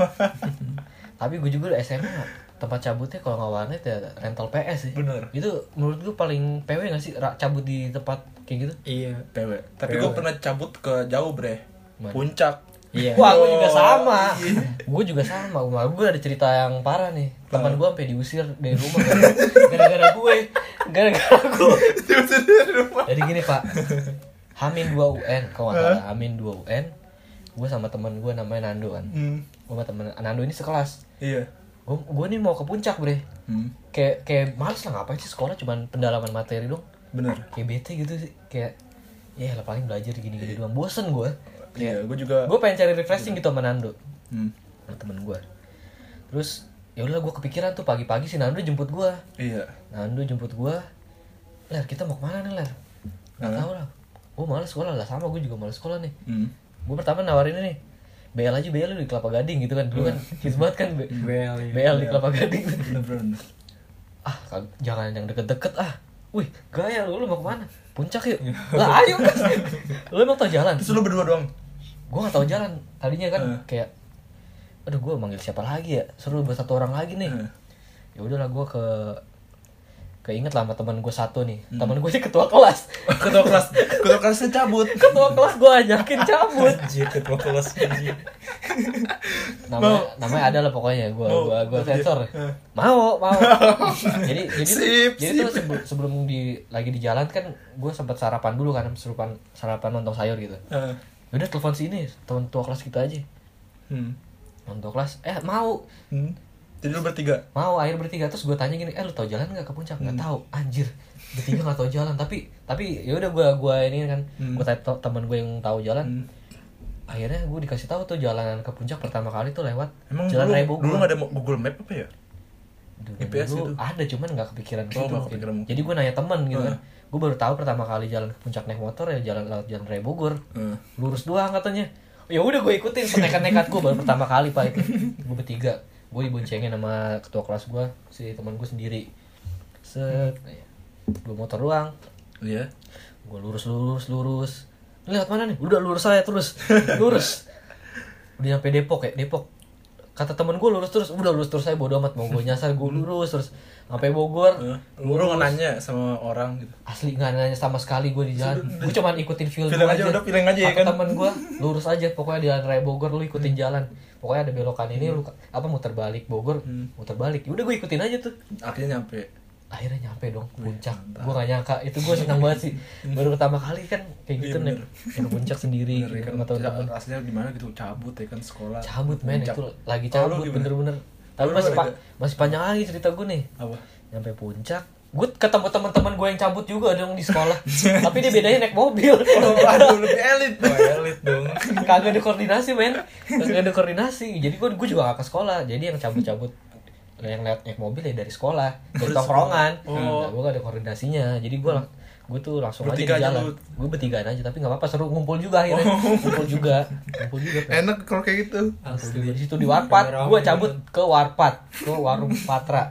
[SPEAKER 1] Tapi gue juga SMA tempat cabutnya kalau nggak warnet ya rental PS sih.
[SPEAKER 2] Bener.
[SPEAKER 1] Itu menurut gue paling PW nggak sih ra- cabut di tempat kayak gitu?
[SPEAKER 3] iya
[SPEAKER 2] PW tapi gue pernah cabut ke jauh bre
[SPEAKER 1] Mana?
[SPEAKER 2] puncak
[SPEAKER 3] iya
[SPEAKER 1] Wah, gue juga
[SPEAKER 2] Oh,
[SPEAKER 1] sama.
[SPEAKER 2] iya.
[SPEAKER 1] Gue juga sama. Gue gue ada cerita yang parah nih. Teman gue sampai diusir dari rumah gara- gara-gara gue. Gara-gara gue.
[SPEAKER 2] Diusir dari rumah
[SPEAKER 1] Jadi gini Pak. Hamin 2 UN, kalau nggak salah. Hamin 2 UN. Gue sama teman gue namanya Nando kan.
[SPEAKER 2] hmm,
[SPEAKER 1] Gue sama temen Nando ini sekelas.
[SPEAKER 2] iya
[SPEAKER 1] Gue gue nih mau ke puncak bre.
[SPEAKER 2] hmm,
[SPEAKER 1] Kayak kayak males lah ngapain sih sekolah cuman pendalaman materi dong.
[SPEAKER 2] bener
[SPEAKER 1] Kayak bete gitu sih. Kayak ya lah paling belajar gini-gini doang. Bosen gue.
[SPEAKER 2] iya gue juga
[SPEAKER 1] Gue pengen cari refreshing gitu sama Nando.
[SPEAKER 2] hmm,
[SPEAKER 1] sama temen gue terus ya udah gue kepikiran tuh pagi-pagi si Nando jemput gue
[SPEAKER 2] iya
[SPEAKER 1] Nando jemput gue ler kita mau kemana nih ler nggak
[SPEAKER 2] Hah?
[SPEAKER 1] tahu lah gue males sekolah lah sama gue juga males sekolah nih
[SPEAKER 2] hmm.
[SPEAKER 1] gue pertama nawarin ini BL aja BL lu di Kelapa Gading gitu kan dulu kan hits banget kan B-
[SPEAKER 3] BL, iya.
[SPEAKER 1] BL di Kelapa Gading
[SPEAKER 2] bener bener
[SPEAKER 1] ah kag- jangan yang deket-deket ah wih gaya lu lu mau kemana puncak yuk lah ayo kan lu emang tau jalan
[SPEAKER 2] terus lu berdua doang
[SPEAKER 1] gue gak tahu jalan tadinya kan
[SPEAKER 2] Eh.
[SPEAKER 1] kayak aduh gue manggil siapa lagi ya seru buat satu orang lagi nih
[SPEAKER 2] Eh.
[SPEAKER 1] ya udahlah gue ke keinget lah sama teman gue satu nih
[SPEAKER 2] Hmm.
[SPEAKER 1] teman gue ini ketua kelas
[SPEAKER 2] ketua kelas ketua kelasnya cabut
[SPEAKER 1] ketua kelas gue ajakin cabut
[SPEAKER 3] Anjir ketua kelas anjir.
[SPEAKER 1] namanya namanya ada lah pokoknya gue
[SPEAKER 2] Mau.
[SPEAKER 1] gue gue
[SPEAKER 2] Tapi dia-
[SPEAKER 1] sensor
[SPEAKER 2] eh.
[SPEAKER 1] mau mau jadi jadi tuh-
[SPEAKER 2] Sip,
[SPEAKER 1] jadi tuh sebelum sebelum di lagi di jalan kan gue sempat sarapan dulu kan sarapan sarapan lontong sayur gitu
[SPEAKER 2] Eh,
[SPEAKER 1] udah telepon si ini teman tua kelas kita aja
[SPEAKER 2] hmm.
[SPEAKER 1] teman tua kelas eh mau
[SPEAKER 2] Hmm. jadi lu bertiga
[SPEAKER 1] mau air bertiga terus gue tanya gini eh lu tau jalan nggak ke puncak nggak
[SPEAKER 2] Hmm.
[SPEAKER 1] tahu anjir bertiga nggak tau jalan tapi tapi ya udah gue gue ini kan
[SPEAKER 2] Hmm.
[SPEAKER 1] gue tanya to- temen gue yang tahu jalan
[SPEAKER 2] Hmm.
[SPEAKER 1] akhirnya gue dikasih tahu tuh jalanan ke puncak pertama kali tuh lewat
[SPEAKER 2] emang
[SPEAKER 1] jalan
[SPEAKER 2] dulu
[SPEAKER 1] raya Bogor.
[SPEAKER 2] dulu nggak ada Google Map apa ya
[SPEAKER 1] Dulu-
[SPEAKER 2] IPS
[SPEAKER 1] dulu
[SPEAKER 2] gitu.
[SPEAKER 1] ada cuman nggak kepikiran
[SPEAKER 2] Oh, nggak
[SPEAKER 1] mungkin.
[SPEAKER 2] kepikiran mungkin.
[SPEAKER 1] jadi gue nanya temen gitu kan
[SPEAKER 2] Heeh.
[SPEAKER 1] gue baru tahu pertama kali jalan ke puncak naik motor ya jalan lewat jalan raya Bogor
[SPEAKER 2] Heeh.
[SPEAKER 1] lurus doang katanya ya udah gue ikutin nekat-nekat gue baru pertama kali pak itu gue bertiga gue diboncengin sama ketua kelas gue si teman gue sendiri set
[SPEAKER 2] Hmm.
[SPEAKER 1] dua motor doang
[SPEAKER 2] iya
[SPEAKER 1] gue lurus lurus lurus Ini lewat mana nih udah lurus saya terus lurus udah nyampe Depok ya Depok kata temen gue lurus terus udah lurus terus saya bodo amat mau gue nyasar gue
[SPEAKER 2] Hmm.
[SPEAKER 1] lurus terus sampai Bogor
[SPEAKER 2] Eh, lu lu nggak nanya sama orang gitu
[SPEAKER 1] asli nggak nanya sama sekali gue di jalan gue cuman ikutin feel
[SPEAKER 2] Feeling
[SPEAKER 1] gue
[SPEAKER 2] aja, udah feeling aja
[SPEAKER 1] Kata
[SPEAKER 2] ya kan? Hmm.
[SPEAKER 1] temen gue lurus aja pokoknya di jalan raya Bogor lu ikutin jalan pokoknya ada belokan ini lu apa muter balik Bogor
[SPEAKER 2] Hmm.
[SPEAKER 1] muter balik Ya udah gue ikutin aja tuh
[SPEAKER 2] akhirnya nyampe
[SPEAKER 1] akhirnya nyampe dong ke puncak gue gak nyangka itu gue senang banget sih baru pertama kali kan kayak gitu
[SPEAKER 2] Iya,
[SPEAKER 1] nih ke puncak sendiri gitu,
[SPEAKER 2] Bener, ya kan
[SPEAKER 1] sama temen-temen
[SPEAKER 2] aslinya di mana gitu cabut ya kan sekolah
[SPEAKER 1] cabut men
[SPEAKER 2] Puncak.
[SPEAKER 1] itu lagi
[SPEAKER 2] Kalau
[SPEAKER 1] cabut
[SPEAKER 2] lu gimana?
[SPEAKER 1] bener-bener tapi
[SPEAKER 2] Lu
[SPEAKER 1] masih
[SPEAKER 2] ada
[SPEAKER 1] pa- masih panjang lagi cerita gue nih
[SPEAKER 2] apa
[SPEAKER 1] nyampe puncak gue ketemu teman-teman gue yang cabut juga dong di sekolah tapi dia bedanya naik mobil
[SPEAKER 2] Oh, aduh lebih elit
[SPEAKER 3] Wah, elit dong.
[SPEAKER 1] kagak ada koordinasi men kagak ada koordinasi jadi gue gue juga gak ke sekolah jadi yang cabut-cabut yang lihat naik mobil ya dari sekolah dari tongkrongan
[SPEAKER 2] Oh.
[SPEAKER 1] nah, gue gak ada koordinasinya jadi gue lang- gue tuh langsung
[SPEAKER 2] Bertiga aja
[SPEAKER 1] aja di jalan
[SPEAKER 2] lu. Oh.
[SPEAKER 1] gue bertigaan aja tapi nggak apa-apa seru ngumpul juga akhirnya ngumpul juga ngumpul juga Pen.
[SPEAKER 2] enak kalau kayak gitu
[SPEAKER 1] Ngumpul juga. di situ di warpat
[SPEAKER 3] Kamera
[SPEAKER 1] gue
[SPEAKER 3] api.
[SPEAKER 1] cabut ke warpat ke warung patra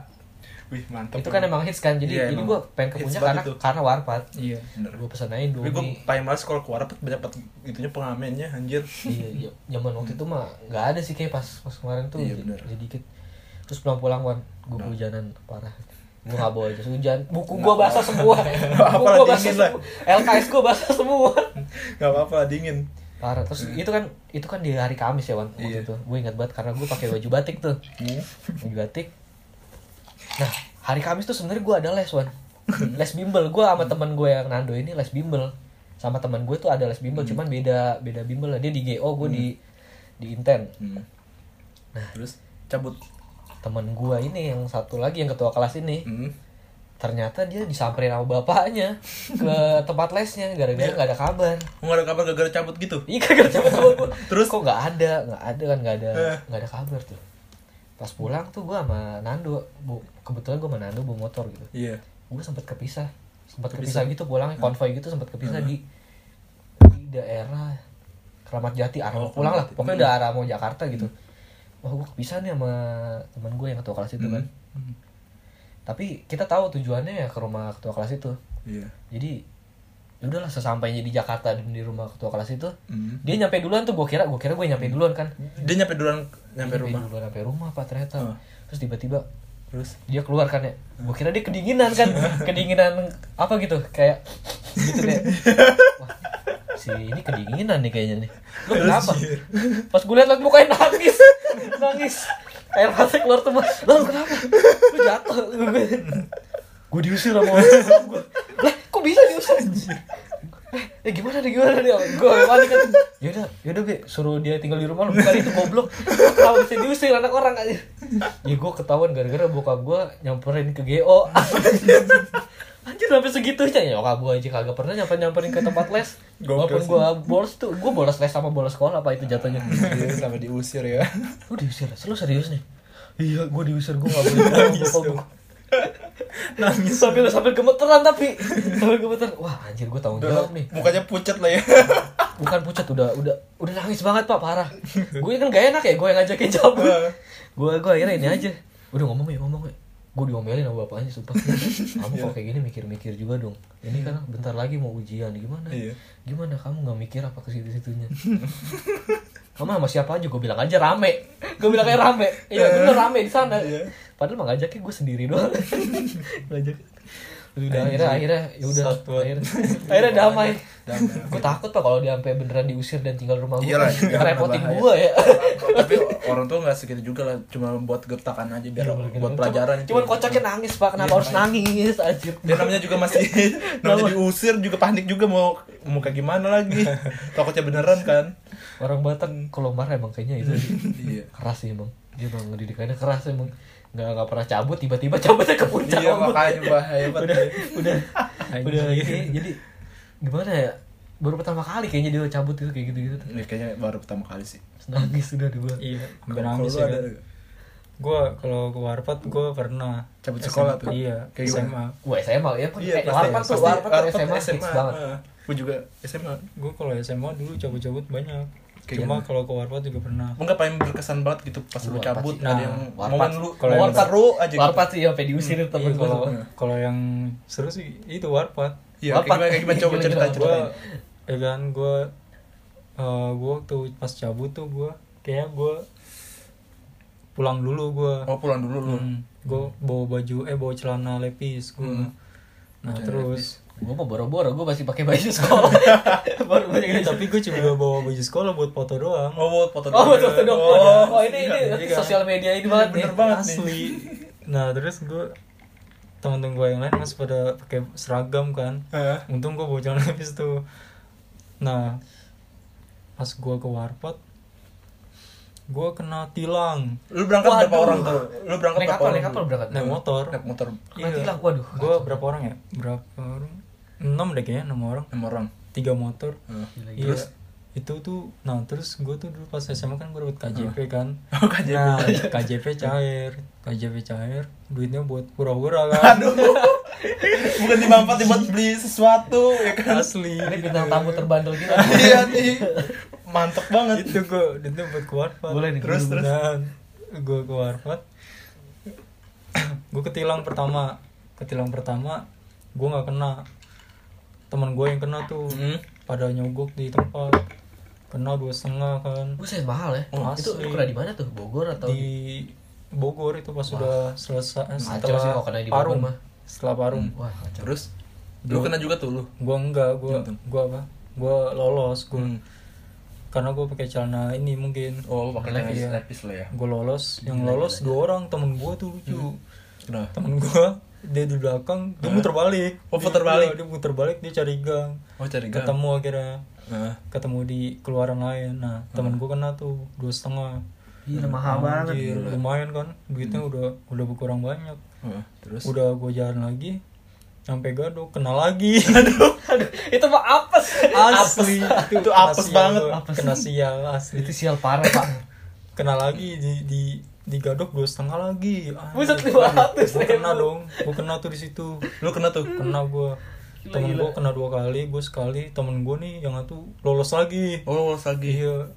[SPEAKER 2] wih mantap
[SPEAKER 1] itu kan emang hits kan
[SPEAKER 2] Iya,
[SPEAKER 1] jadi jadi
[SPEAKER 2] emang.
[SPEAKER 1] gue pengen ke
[SPEAKER 2] Hits
[SPEAKER 1] puncak
[SPEAKER 2] banget
[SPEAKER 1] karena
[SPEAKER 2] itu.
[SPEAKER 1] karena warpat
[SPEAKER 3] Iya.
[SPEAKER 2] bener
[SPEAKER 1] gue pesan aja
[SPEAKER 2] tapi gue
[SPEAKER 1] Indomie
[SPEAKER 2] paling males kalau keluar dapat dapat itunya pengamennya anjir
[SPEAKER 1] Iya, iya. zaman waktu itu mah nggak ada sih kayak pas pas kemarin tuh
[SPEAKER 2] Iya,
[SPEAKER 1] jadi-
[SPEAKER 2] bener.
[SPEAKER 1] jadi dikit. Terus pulang-pulang wan, gue
[SPEAKER 2] Nah.
[SPEAKER 1] hujanan parah. Gue nggak bawa jas hujan, buku gue basah semua, buku
[SPEAKER 2] Apalah
[SPEAKER 1] gue basah
[SPEAKER 2] dingin lah.
[SPEAKER 1] semua, LKS gue basah semua.
[SPEAKER 2] nggak apa apa dingin
[SPEAKER 1] Parah. Terus itu kan itu kan di hari Kamis ya wan waktu
[SPEAKER 2] Iya.
[SPEAKER 1] itu. Gue ingat banget karena gue pakai baju batik tuh, baju batik. Nah hari Kamis tuh sebenarnya gue ada les wan, les bimbel. Gue sama teman gue yang Nando ini les bimbel sama teman gue tuh ada les
[SPEAKER 2] Hmm.
[SPEAKER 1] bimbel cuman beda beda bimbel lah dia di GO gue di di Inten
[SPEAKER 2] Hmm. terus cabut
[SPEAKER 1] temen gua ini yang satu lagi yang ketua kelas ini
[SPEAKER 2] Hmm.
[SPEAKER 1] ternyata dia disamperin sama bapaknya ke tempat lesnya gara-gara
[SPEAKER 2] Iya.
[SPEAKER 1] nggak ada kabar
[SPEAKER 2] Lu nggak ada kabar gara-gara cabut gitu
[SPEAKER 1] iya kagak cepet sama gua
[SPEAKER 2] Terus?
[SPEAKER 1] kok nggak ada nggak ada kan nggak ada
[SPEAKER 2] Eh.
[SPEAKER 1] nggak ada kabar tuh pas pulang tuh gua sama Nando bu kebetulan gua sama Nando bawa motor gitu
[SPEAKER 2] iya
[SPEAKER 1] gua sempet kepisah sempet kepisah,
[SPEAKER 2] ya?
[SPEAKER 1] gitu pulangnya konvoy gitu sempet kepisah di di daerah Keramat Jati arah
[SPEAKER 2] Oh,
[SPEAKER 1] pulang lah
[SPEAKER 2] Keramat Jati. Hmm.
[SPEAKER 1] pokoknya udah arah mau Jakarta gitu wah gua kepisah nih sama teman gua yang ketua kelas itu kan
[SPEAKER 2] Hmm.
[SPEAKER 1] tapi kita tahu tujuannya ya ke rumah ketua kelas itu
[SPEAKER 2] iya
[SPEAKER 1] jadi ya udahlah sesampainya di Jakarta di di rumah ketua kelas itu
[SPEAKER 2] Hmm.
[SPEAKER 1] dia nyampe duluan tuh gue kira gue kira gue nyampe duluan kan
[SPEAKER 2] dia nyampe duluan nyampe
[SPEAKER 1] Dia
[SPEAKER 2] rumah
[SPEAKER 1] duluan nyampe rumah pak ternyata
[SPEAKER 2] Heeh.
[SPEAKER 1] terus tiba-tiba
[SPEAKER 2] terus
[SPEAKER 1] dia keluar kan ya gue kira dia kedinginan kan kedinginan apa gitu kayak gitu deh wah si ini kedinginan nih kayaknya nih lu kenapa pas gue liat liat mukanya nangis nangis air mata keluar tuh Mas. lah lu kenapa lu jatuh gue diusir sama orang gue lah kok bisa diusir Eh, ya gimana deh gimana deh gue panik kan yaudah yaudah be suruh dia tinggal di rumah lu bukan itu goblok kenapa bisa diusir anak orang aja ya gue ketahuan gara-gara bokap gue nyamperin ke GO anjir sampai segitunya ya nyokap gue aja kagak pernah nyamperin nyamperin ke tempat les
[SPEAKER 2] Gokil
[SPEAKER 1] walaupun
[SPEAKER 2] sih.
[SPEAKER 1] gue bolos tuh gue bolos les sama bolos sekolah apa itu jatuhnya
[SPEAKER 2] Iya, sampai diusir ya
[SPEAKER 1] lu diusir les lu serius nih iya gue diusir gue gak boleh bilang sama bokap gue
[SPEAKER 2] nangis
[SPEAKER 1] sambil sambil gemeteran tapi sambil gemeteran wah anjir gue tanggung
[SPEAKER 2] Udah,
[SPEAKER 1] jawab nih
[SPEAKER 2] mukanya pucat lah ya
[SPEAKER 1] bukan pucat udah udah udah nangis banget pak parah gue kan gak enak ya gue yang ngajakin cabut gue gue akhirnya ini aja udah ngomong ya ngomong ya gue diomelin sama bapaknya sumpah kamu kok kayak gini mikir-mikir juga dong ini kan bentar lagi mau ujian gimana
[SPEAKER 2] Iya.
[SPEAKER 1] gimana kamu nggak mikir apa ke situ situnya kamu sama siapa aja gue bilang aja rame gue bilang kayak rame iya bener rame di sana
[SPEAKER 2] Iya.
[SPEAKER 1] padahal mah ngajaknya gue sendiri doang ngajak Udah akhirnya akhirnya ya udah
[SPEAKER 3] Satuan.
[SPEAKER 1] akhirnya, akhirnya damai.
[SPEAKER 2] Damai.
[SPEAKER 1] Gue takut pak kalau dia sampai beneran diusir dan tinggal di rumah gue.
[SPEAKER 2] Iyalah, iya,
[SPEAKER 1] Ngerepotin
[SPEAKER 2] bahaya.
[SPEAKER 1] gue ya.
[SPEAKER 2] tapi orang tua nggak segitu juga lah cuma buat gertakan aja biar buat pelajaran Iya,
[SPEAKER 1] Cuman kocaknya nangis pak, kenapa harus nangis anjir.
[SPEAKER 2] dia namanya juga masih namanya diusir juga panik juga mau mau kayak gimana lagi takutnya beneran kan
[SPEAKER 1] Orang Batak kalau marah emang kayaknya itu
[SPEAKER 2] iya
[SPEAKER 1] keras sih emang. Dia emang ngedidikannya keras emang. Nggak, nggak pernah cabut, tiba-tiba cabutnya ke puncak.
[SPEAKER 2] iya
[SPEAKER 1] ombak.
[SPEAKER 2] makanya bahaya
[SPEAKER 1] udah
[SPEAKER 2] banget
[SPEAKER 1] udah
[SPEAKER 3] Anjing.
[SPEAKER 1] udah ini jadi gimana ya baru pertama kali kayaknya dia cabut itu kayak gitu gitu
[SPEAKER 2] ini kayaknya baru pertama kali sih
[SPEAKER 1] nangis udah dua
[SPEAKER 3] iya sampai
[SPEAKER 2] Kalau lu
[SPEAKER 3] nangis ya
[SPEAKER 2] ada
[SPEAKER 3] kan. gue kalau ke warpat gue pernah
[SPEAKER 2] Cabut
[SPEAKER 3] SMA.
[SPEAKER 2] sekolah tuh?
[SPEAKER 3] iya
[SPEAKER 2] Kayak
[SPEAKER 3] SMA
[SPEAKER 1] Wah SMA ya kan
[SPEAKER 2] iya
[SPEAKER 1] eh, warpat tuh warpat tuh SMA hits banget
[SPEAKER 2] gue Ah. juga SMA
[SPEAKER 3] gue kalau SMA dulu cabut-cabut banyak
[SPEAKER 2] Kayak
[SPEAKER 3] cuma
[SPEAKER 2] gimana?
[SPEAKER 3] kalau ke warpat juga pernah
[SPEAKER 2] enggak paling berkesan banget gitu pas lu
[SPEAKER 1] Warpat
[SPEAKER 2] cabut
[SPEAKER 1] sih.
[SPEAKER 2] ada
[SPEAKER 3] Nah,
[SPEAKER 2] yang
[SPEAKER 1] warpat.
[SPEAKER 2] momen lu
[SPEAKER 3] Kalau yang
[SPEAKER 2] momen seru aja gitu
[SPEAKER 1] warpat sih ya, sampai diusir temen
[SPEAKER 3] Iya,
[SPEAKER 1] kalau
[SPEAKER 3] kalau kalau yang seru sih itu warpat
[SPEAKER 2] iya kayak
[SPEAKER 1] Warpat.
[SPEAKER 2] gimana, kayak gimana coba
[SPEAKER 1] Gila,
[SPEAKER 2] cerita
[SPEAKER 1] gila.
[SPEAKER 2] cerita
[SPEAKER 3] gue ya kan gue gue waktu pas cabut tuh gue kayak gue pulang dulu gue
[SPEAKER 2] oh pulang dulu lu
[SPEAKER 3] gue bawa baju eh bawa celana lepis gue
[SPEAKER 2] Hmm.
[SPEAKER 3] nah
[SPEAKER 2] Celana
[SPEAKER 3] terus
[SPEAKER 1] gue mau boro-boro gue masih pakai baju sekolah baru baju
[SPEAKER 3] Eh, tapi gue cuma bawa baju sekolah buat foto doang
[SPEAKER 2] oh buat foto
[SPEAKER 1] oh
[SPEAKER 2] dulu.
[SPEAKER 1] betul betul dong
[SPEAKER 2] Oh,
[SPEAKER 1] oh ini ini
[SPEAKER 3] Iya.
[SPEAKER 1] sosial media ini banget nih
[SPEAKER 2] bener banget nih
[SPEAKER 3] Eh, asli nah terus gue teman-teman gue yang lain masih pada pakai seragam kan
[SPEAKER 2] Heeh.
[SPEAKER 3] untung gue bawa celana lepis tuh nah pas gue ke warpat gue kena tilang
[SPEAKER 2] lu berangkat
[SPEAKER 1] Waduh.
[SPEAKER 2] berapa orang tuh lu berangkat
[SPEAKER 1] naik
[SPEAKER 2] berapa
[SPEAKER 1] kapal
[SPEAKER 2] orang
[SPEAKER 1] naik kapal
[SPEAKER 2] dulu?
[SPEAKER 1] berangkat
[SPEAKER 3] naik motor
[SPEAKER 2] naik motor
[SPEAKER 1] Kena tilang, waduh.
[SPEAKER 3] gue berapa orang ya berapa orang enam deh kayaknya enam orang
[SPEAKER 2] enam orang Eh.
[SPEAKER 3] tiga motor
[SPEAKER 2] Heeh.
[SPEAKER 1] Nah,
[SPEAKER 3] Iya. itu tuh nah terus gue tuh dulu pas SMA kan gue dapet KJP kan
[SPEAKER 2] Oh, KJP.
[SPEAKER 3] nah KJP cair KJP cair duitnya buat pura-pura kan
[SPEAKER 2] aduh bukan dimanfaatin buat beli sesuatu ya kan
[SPEAKER 3] asli
[SPEAKER 1] ini bintang tamu terbandel gitu
[SPEAKER 2] iya nih mantep banget
[SPEAKER 3] itu gue duitnya buat ke warpat
[SPEAKER 1] Boleh nih,
[SPEAKER 3] terus
[SPEAKER 1] boleh,
[SPEAKER 3] terus gue ke warpat gue ketilang pertama ketilang pertama gue nggak kena teman gue yang kena tuh
[SPEAKER 2] Hmm.
[SPEAKER 3] pada nyogok di tempat kena dua setengah kan
[SPEAKER 1] buset mahal ya
[SPEAKER 3] Oh,
[SPEAKER 1] itu
[SPEAKER 3] asli.
[SPEAKER 1] lu kena di mana tuh Bogor atau
[SPEAKER 3] di Bogor itu pas sudah selesai eh,
[SPEAKER 1] Kacau
[SPEAKER 3] setelah
[SPEAKER 1] sih kalau kena di Bogor
[SPEAKER 3] Parung
[SPEAKER 1] mah.
[SPEAKER 3] setelah Parung
[SPEAKER 1] wah kacau
[SPEAKER 2] terus lu kena juga tuh lu
[SPEAKER 1] Hmm.
[SPEAKER 3] gua enggak gua gua apa gua lolos gua
[SPEAKER 2] Hmm.
[SPEAKER 3] karena gua pakai celana ini mungkin
[SPEAKER 2] oh pakai
[SPEAKER 1] Lepis,
[SPEAKER 2] lepis lepis lah ya
[SPEAKER 3] gua lolos yang lolos dua orang temen gua tuh lucu
[SPEAKER 1] Hmm.
[SPEAKER 2] nah
[SPEAKER 3] temen gua dia di belakang dia muter balik
[SPEAKER 2] Oh,
[SPEAKER 3] Dia-
[SPEAKER 2] puter balik.
[SPEAKER 3] iya, dia muter balik dia cari gang
[SPEAKER 2] oh cari gang
[SPEAKER 3] ketemu akhirnya
[SPEAKER 2] Nah.
[SPEAKER 3] ketemu di keluaran lain nah temen gua kena tuh dua setengah
[SPEAKER 1] Gila mahal banget
[SPEAKER 3] Anjir, lumayan kan duitnya udah udah berkurang banyak
[SPEAKER 2] Heeh, Hmm. terus
[SPEAKER 3] udah gue jalan lagi sampai gado kena lagi
[SPEAKER 1] Aduh, itu mah apes.
[SPEAKER 3] asli itu,
[SPEAKER 2] Itu
[SPEAKER 3] kena
[SPEAKER 2] apes
[SPEAKER 3] sial
[SPEAKER 2] banget.
[SPEAKER 3] gua.
[SPEAKER 1] Apes.
[SPEAKER 3] kena sial asli
[SPEAKER 1] Itu sial parah, Pak.
[SPEAKER 3] kena lagi di di di gadok dua setengah lagi Anjir,
[SPEAKER 1] Buset, 500
[SPEAKER 3] gua kena
[SPEAKER 1] ribu.
[SPEAKER 3] dong gue kena tuh di situ
[SPEAKER 2] lu kena tuh
[SPEAKER 1] Hmm.
[SPEAKER 3] kena gue temen gue kena dua kali gue sekali temen gue nih yang satu lolos lagi
[SPEAKER 2] oh lolos lagi
[SPEAKER 3] iya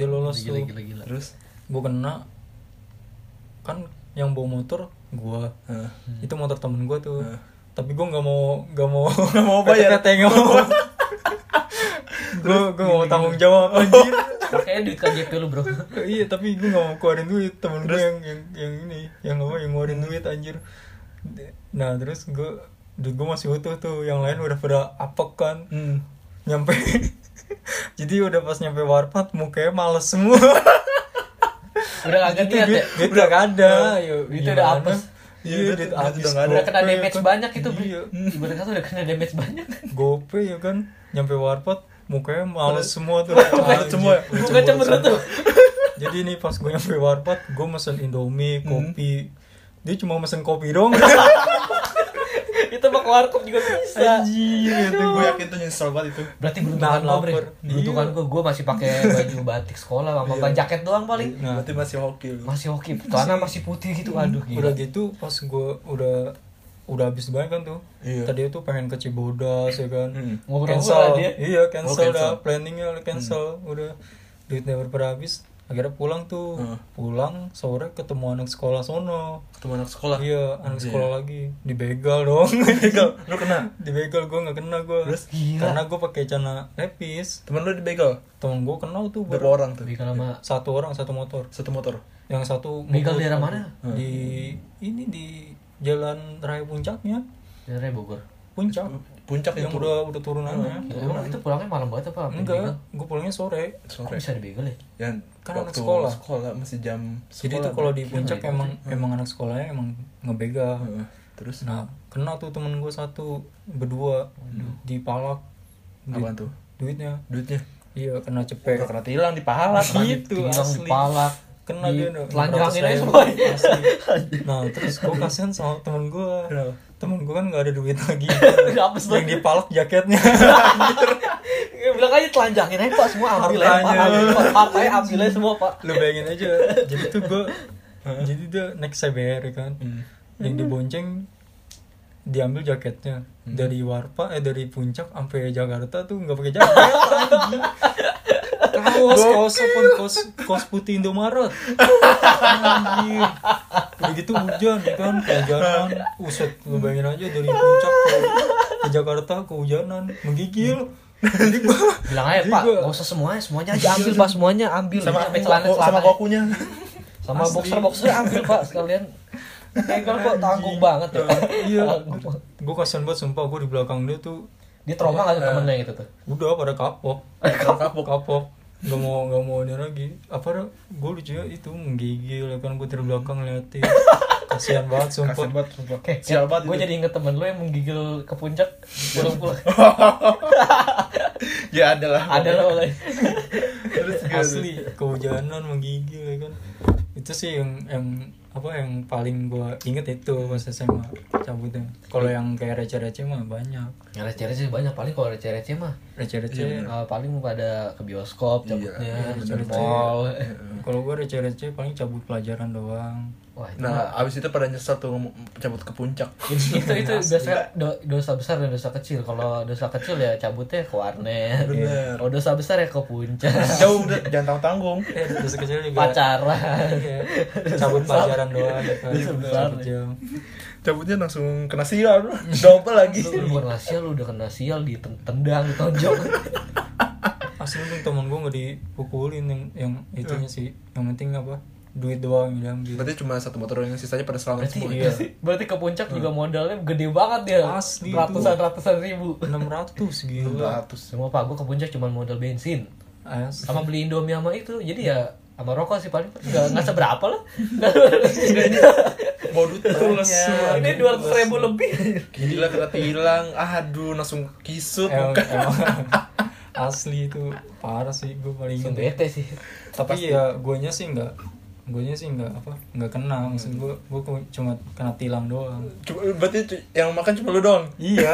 [SPEAKER 3] dia lolos
[SPEAKER 1] Gila
[SPEAKER 3] tuh
[SPEAKER 1] gila gila.
[SPEAKER 2] terus
[SPEAKER 3] gue kena kan yang bawa motor gue
[SPEAKER 2] Heeh.
[SPEAKER 1] Hmm.
[SPEAKER 3] itu motor temen gue tuh tapi gue nggak mau nggak mau nggak
[SPEAKER 2] mau bayar.
[SPEAKER 3] nggak mau gue gue mau tanggung jawab anjir
[SPEAKER 1] Makanya duit KJP lu, Bro.
[SPEAKER 3] iya tapi gue nggak mau keluarin duit temen gue yang, yang yang ini yang apa yang
[SPEAKER 1] Hmm.
[SPEAKER 3] ngeluarin duit anjir nah terus gue duit gue masih utuh tuh yang lain udah pada apek kan
[SPEAKER 2] Hmm.
[SPEAKER 3] nyampe jadi udah pas nyampe warpat mukanya males semua
[SPEAKER 1] Udah kagak
[SPEAKER 3] Itu
[SPEAKER 1] niat
[SPEAKER 3] duit,
[SPEAKER 1] ya.
[SPEAKER 3] duit udah gak ada ya,
[SPEAKER 1] duitnya udah
[SPEAKER 3] gimana?
[SPEAKER 1] apes.
[SPEAKER 3] Iya,
[SPEAKER 2] Iya,
[SPEAKER 3] duit
[SPEAKER 2] duit udah
[SPEAKER 3] abis
[SPEAKER 2] gak ada.
[SPEAKER 1] Udah kena
[SPEAKER 3] Gopay
[SPEAKER 1] damage
[SPEAKER 3] kan.
[SPEAKER 1] banyak itu, Bro.
[SPEAKER 3] Iya.
[SPEAKER 1] Ibarat kata udah kena damage banyak.
[SPEAKER 3] Gopay ya kan Nyampe warpat Mukanya males semua tuh
[SPEAKER 2] Males semua ya?
[SPEAKER 3] Lucu
[SPEAKER 1] Bukan
[SPEAKER 3] banget.
[SPEAKER 1] cemberut tuh.
[SPEAKER 3] Jadi nih pas gue nyampe warpat Gue mesen indomie,
[SPEAKER 2] Hmm.
[SPEAKER 3] kopi Dia cuma mesen kopi doang
[SPEAKER 1] Itu mah ke warkop juga bisa.
[SPEAKER 3] Anjir
[SPEAKER 2] gue
[SPEAKER 3] gitu gue
[SPEAKER 2] iya, yakin tuh nyesel banget itu
[SPEAKER 1] Berarti
[SPEAKER 3] Nahan
[SPEAKER 1] beruntungan lo, Bre.
[SPEAKER 3] lapar. Iya.
[SPEAKER 1] Beruntungan gua, gua masih pakai baju batik sekolah sama baju jaket doang paling.
[SPEAKER 3] Nah.
[SPEAKER 2] berarti masih hoki lu
[SPEAKER 1] Masih oke, celana masih putih gitu. Aduh,
[SPEAKER 3] Udah
[SPEAKER 1] gila.
[SPEAKER 3] gitu pas gue udah Udah habis banyak kan tuh
[SPEAKER 2] Iya.
[SPEAKER 3] Tadi tuh pengen ke Cibodas ya kan
[SPEAKER 2] Hmm.
[SPEAKER 1] Ngobrol-ngobrol lah
[SPEAKER 3] Cancel
[SPEAKER 1] dia.
[SPEAKER 3] Iya
[SPEAKER 2] Oh,
[SPEAKER 3] cancel,
[SPEAKER 2] cancel.
[SPEAKER 3] dah Planningnya udah cancel Udah duitnya berapa habis Akhirnya pulang tuh
[SPEAKER 2] Hmm.
[SPEAKER 3] Pulang sore ketemu anak sekolah sono
[SPEAKER 2] ketemu anak sekolah
[SPEAKER 3] Iya, anak sekolah lagi. Dibegal dong. Dibegal.
[SPEAKER 2] lu kena
[SPEAKER 3] Dibegal gue gak kena gue.
[SPEAKER 2] Terus?
[SPEAKER 1] Gila.
[SPEAKER 3] Karena gue pakai celana lepis.
[SPEAKER 2] temen lu dibegal
[SPEAKER 3] Temen gue kenal tuh
[SPEAKER 2] berapa
[SPEAKER 3] baru
[SPEAKER 2] orang tuh
[SPEAKER 1] Tapi kalau mah
[SPEAKER 3] satu orang satu motor.
[SPEAKER 2] satu motor
[SPEAKER 3] Yang satu
[SPEAKER 1] Begal
[SPEAKER 3] motor-
[SPEAKER 2] Hmm.
[SPEAKER 1] daerah mana?
[SPEAKER 3] Di ini di Jalan Raya Puncaknya.
[SPEAKER 1] Sebenarnya Bogor.
[SPEAKER 3] puncak
[SPEAKER 2] puncak Hmm.
[SPEAKER 3] yang
[SPEAKER 2] itu
[SPEAKER 3] udah udah turunannya
[SPEAKER 1] Gila, emang itu pulangnya malam banget Iya, apa? hampir
[SPEAKER 3] Iya. enggak
[SPEAKER 1] dibegal?
[SPEAKER 3] gue pulangnya sore
[SPEAKER 1] Kok
[SPEAKER 2] sore
[SPEAKER 1] bisa dibegel ya?
[SPEAKER 2] yang
[SPEAKER 3] Kan anak
[SPEAKER 2] waktu
[SPEAKER 3] sekolah.
[SPEAKER 2] sekolah masih jam
[SPEAKER 3] jadi
[SPEAKER 2] sekolah,
[SPEAKER 3] itu kalau di
[SPEAKER 2] kan?
[SPEAKER 3] puncak emang emang anak sekolahnya emang ngebegal
[SPEAKER 2] Heeh. terus
[SPEAKER 3] nah kena tuh temen gue satu berdua dipalak Nah,
[SPEAKER 2] apa tuh
[SPEAKER 3] duitnya
[SPEAKER 2] duitnya
[SPEAKER 3] iya kena
[SPEAKER 2] udah
[SPEAKER 3] cepet
[SPEAKER 2] kena tilang di pahala
[SPEAKER 1] Tilang
[SPEAKER 3] gitu asli
[SPEAKER 1] dipalak.
[SPEAKER 3] kena
[SPEAKER 1] di
[SPEAKER 3] dia dong
[SPEAKER 1] telanjangin aja
[SPEAKER 3] 600.000,
[SPEAKER 1] semua.
[SPEAKER 3] asli. nah terus gue kasihan sama temen gue temen gue kan gak ada duit lagi
[SPEAKER 1] Hapus
[SPEAKER 3] yang dipalak jaketnya
[SPEAKER 1] Ya, bilang aja telanjangin aja pak semua ambil aja pak
[SPEAKER 3] Hartanya.
[SPEAKER 1] ambil pak hartanya ambil aja semua pak
[SPEAKER 3] lu bayangin aja jadi tuh gue jadi dia naik CBR ya kan yang dibonceng diambil jaketnya dari Warpa eh dari puncak sampai Jakarta tuh nggak pakai jaket anjing. kaos kaos apa kaos kaos putih Indomaret anjir udah gitu hujan ya kan kehujanan uset lu bayangin aja dari puncak ke, ke Jakarta kehujanan menggigil jadi gua
[SPEAKER 1] bilang aja
[SPEAKER 3] Jadi
[SPEAKER 1] pak
[SPEAKER 3] gua-
[SPEAKER 1] nggak usah semuanya semuanya aja ambil pak semuanya ambil
[SPEAKER 2] Iya, sama
[SPEAKER 1] sampai celana
[SPEAKER 2] koko- sama
[SPEAKER 1] celana
[SPEAKER 2] kokunya
[SPEAKER 1] sama boxer boxer ambil pak sekalian Engkel kok tanggung banget ya
[SPEAKER 3] iya gue kasihan banget sumpah gue di belakang dia tuh
[SPEAKER 1] dia trauma nggak tuh
[SPEAKER 2] Iya.
[SPEAKER 1] temennya gitu tuh
[SPEAKER 3] udah pada kapok kapok kapok nggak mau nggak mau dia lagi apa gue lucunya ya, itu menggigil ya kan gue dari belakang liatin kasihan banget
[SPEAKER 2] kasian
[SPEAKER 3] sumpah
[SPEAKER 2] banget sumpah
[SPEAKER 1] Oke,
[SPEAKER 2] sial banget
[SPEAKER 1] gue
[SPEAKER 2] itu. Iya.
[SPEAKER 1] jadi inget temen lu yang menggigil ke puncak belum pulang.
[SPEAKER 2] ya ada lah
[SPEAKER 1] Ada lo lagi.
[SPEAKER 2] terus gua-
[SPEAKER 3] asli kehujanan menggigil ya kan itu sih yang yang apa yang paling gue inget itu pas SMA cabutnya kalau yang kayak receh-receh mah banyak
[SPEAKER 1] Receh-receh banyak paling kalau receh-receh mah
[SPEAKER 2] Iya.
[SPEAKER 3] receh-receh
[SPEAKER 1] eh, paling pada ke bioskop cabutnya, ke mall.
[SPEAKER 2] Iya.
[SPEAKER 3] kalau gue receh-receh paling cabut pelajaran doang
[SPEAKER 1] Wah, itu
[SPEAKER 2] nah abis itu pada nyesel tuh ngom- cabut ke puncak
[SPEAKER 1] itu itu itu biasanya do- dosa besar dan dosa kecil kalau dosa kecil ya cabutnya ke warnet
[SPEAKER 2] Bener.
[SPEAKER 1] kalau dosa besar ya ke puncak
[SPEAKER 2] jauh udah jangan tanggung tanggung
[SPEAKER 3] eh dosa kecil juga
[SPEAKER 1] pacaran
[SPEAKER 3] Iya, cabut pelajaran doang gitu.
[SPEAKER 1] Iya, benar.
[SPEAKER 3] Cabut jam.
[SPEAKER 2] cabutnya langsung kena sial double lagi
[SPEAKER 1] lu bukan kena sial lu udah kena sial ditendang ditonjok
[SPEAKER 3] Asli untung temen gue gak dipukulin yang yang itunya sih. Yang penting apa? Duit doang yang diambil.
[SPEAKER 2] berarti cuma satu motor yang sisanya pada selamat
[SPEAKER 1] berarti
[SPEAKER 2] semua
[SPEAKER 3] Iya.
[SPEAKER 1] berarti ke puncak juga modalnya gede banget dia
[SPEAKER 3] Asli itu.
[SPEAKER 1] ratusan ratusan ribu
[SPEAKER 3] 600 gila.
[SPEAKER 2] 100
[SPEAKER 1] semua pak gue ke puncak cuma modal bensin
[SPEAKER 3] Asli.
[SPEAKER 1] sama beli indomie sama itu jadi ya sama rokok sih paling nggak nggak seberapa lah
[SPEAKER 2] modut terus
[SPEAKER 1] ini dua ratus ribu lebih
[SPEAKER 2] gila kena tilang aduh langsung kisut
[SPEAKER 3] Emang-
[SPEAKER 2] muka.
[SPEAKER 3] emang asli itu parah sih gue paling
[SPEAKER 1] Langsung
[SPEAKER 3] inget.
[SPEAKER 1] bete sih
[SPEAKER 3] tapi ya guanya sih nggak guanya sih nggak apa nggak kena maksud gue gue cuma kena tilang doang
[SPEAKER 2] Cuma- berarti cu- yang makan cuma lu doang
[SPEAKER 3] iya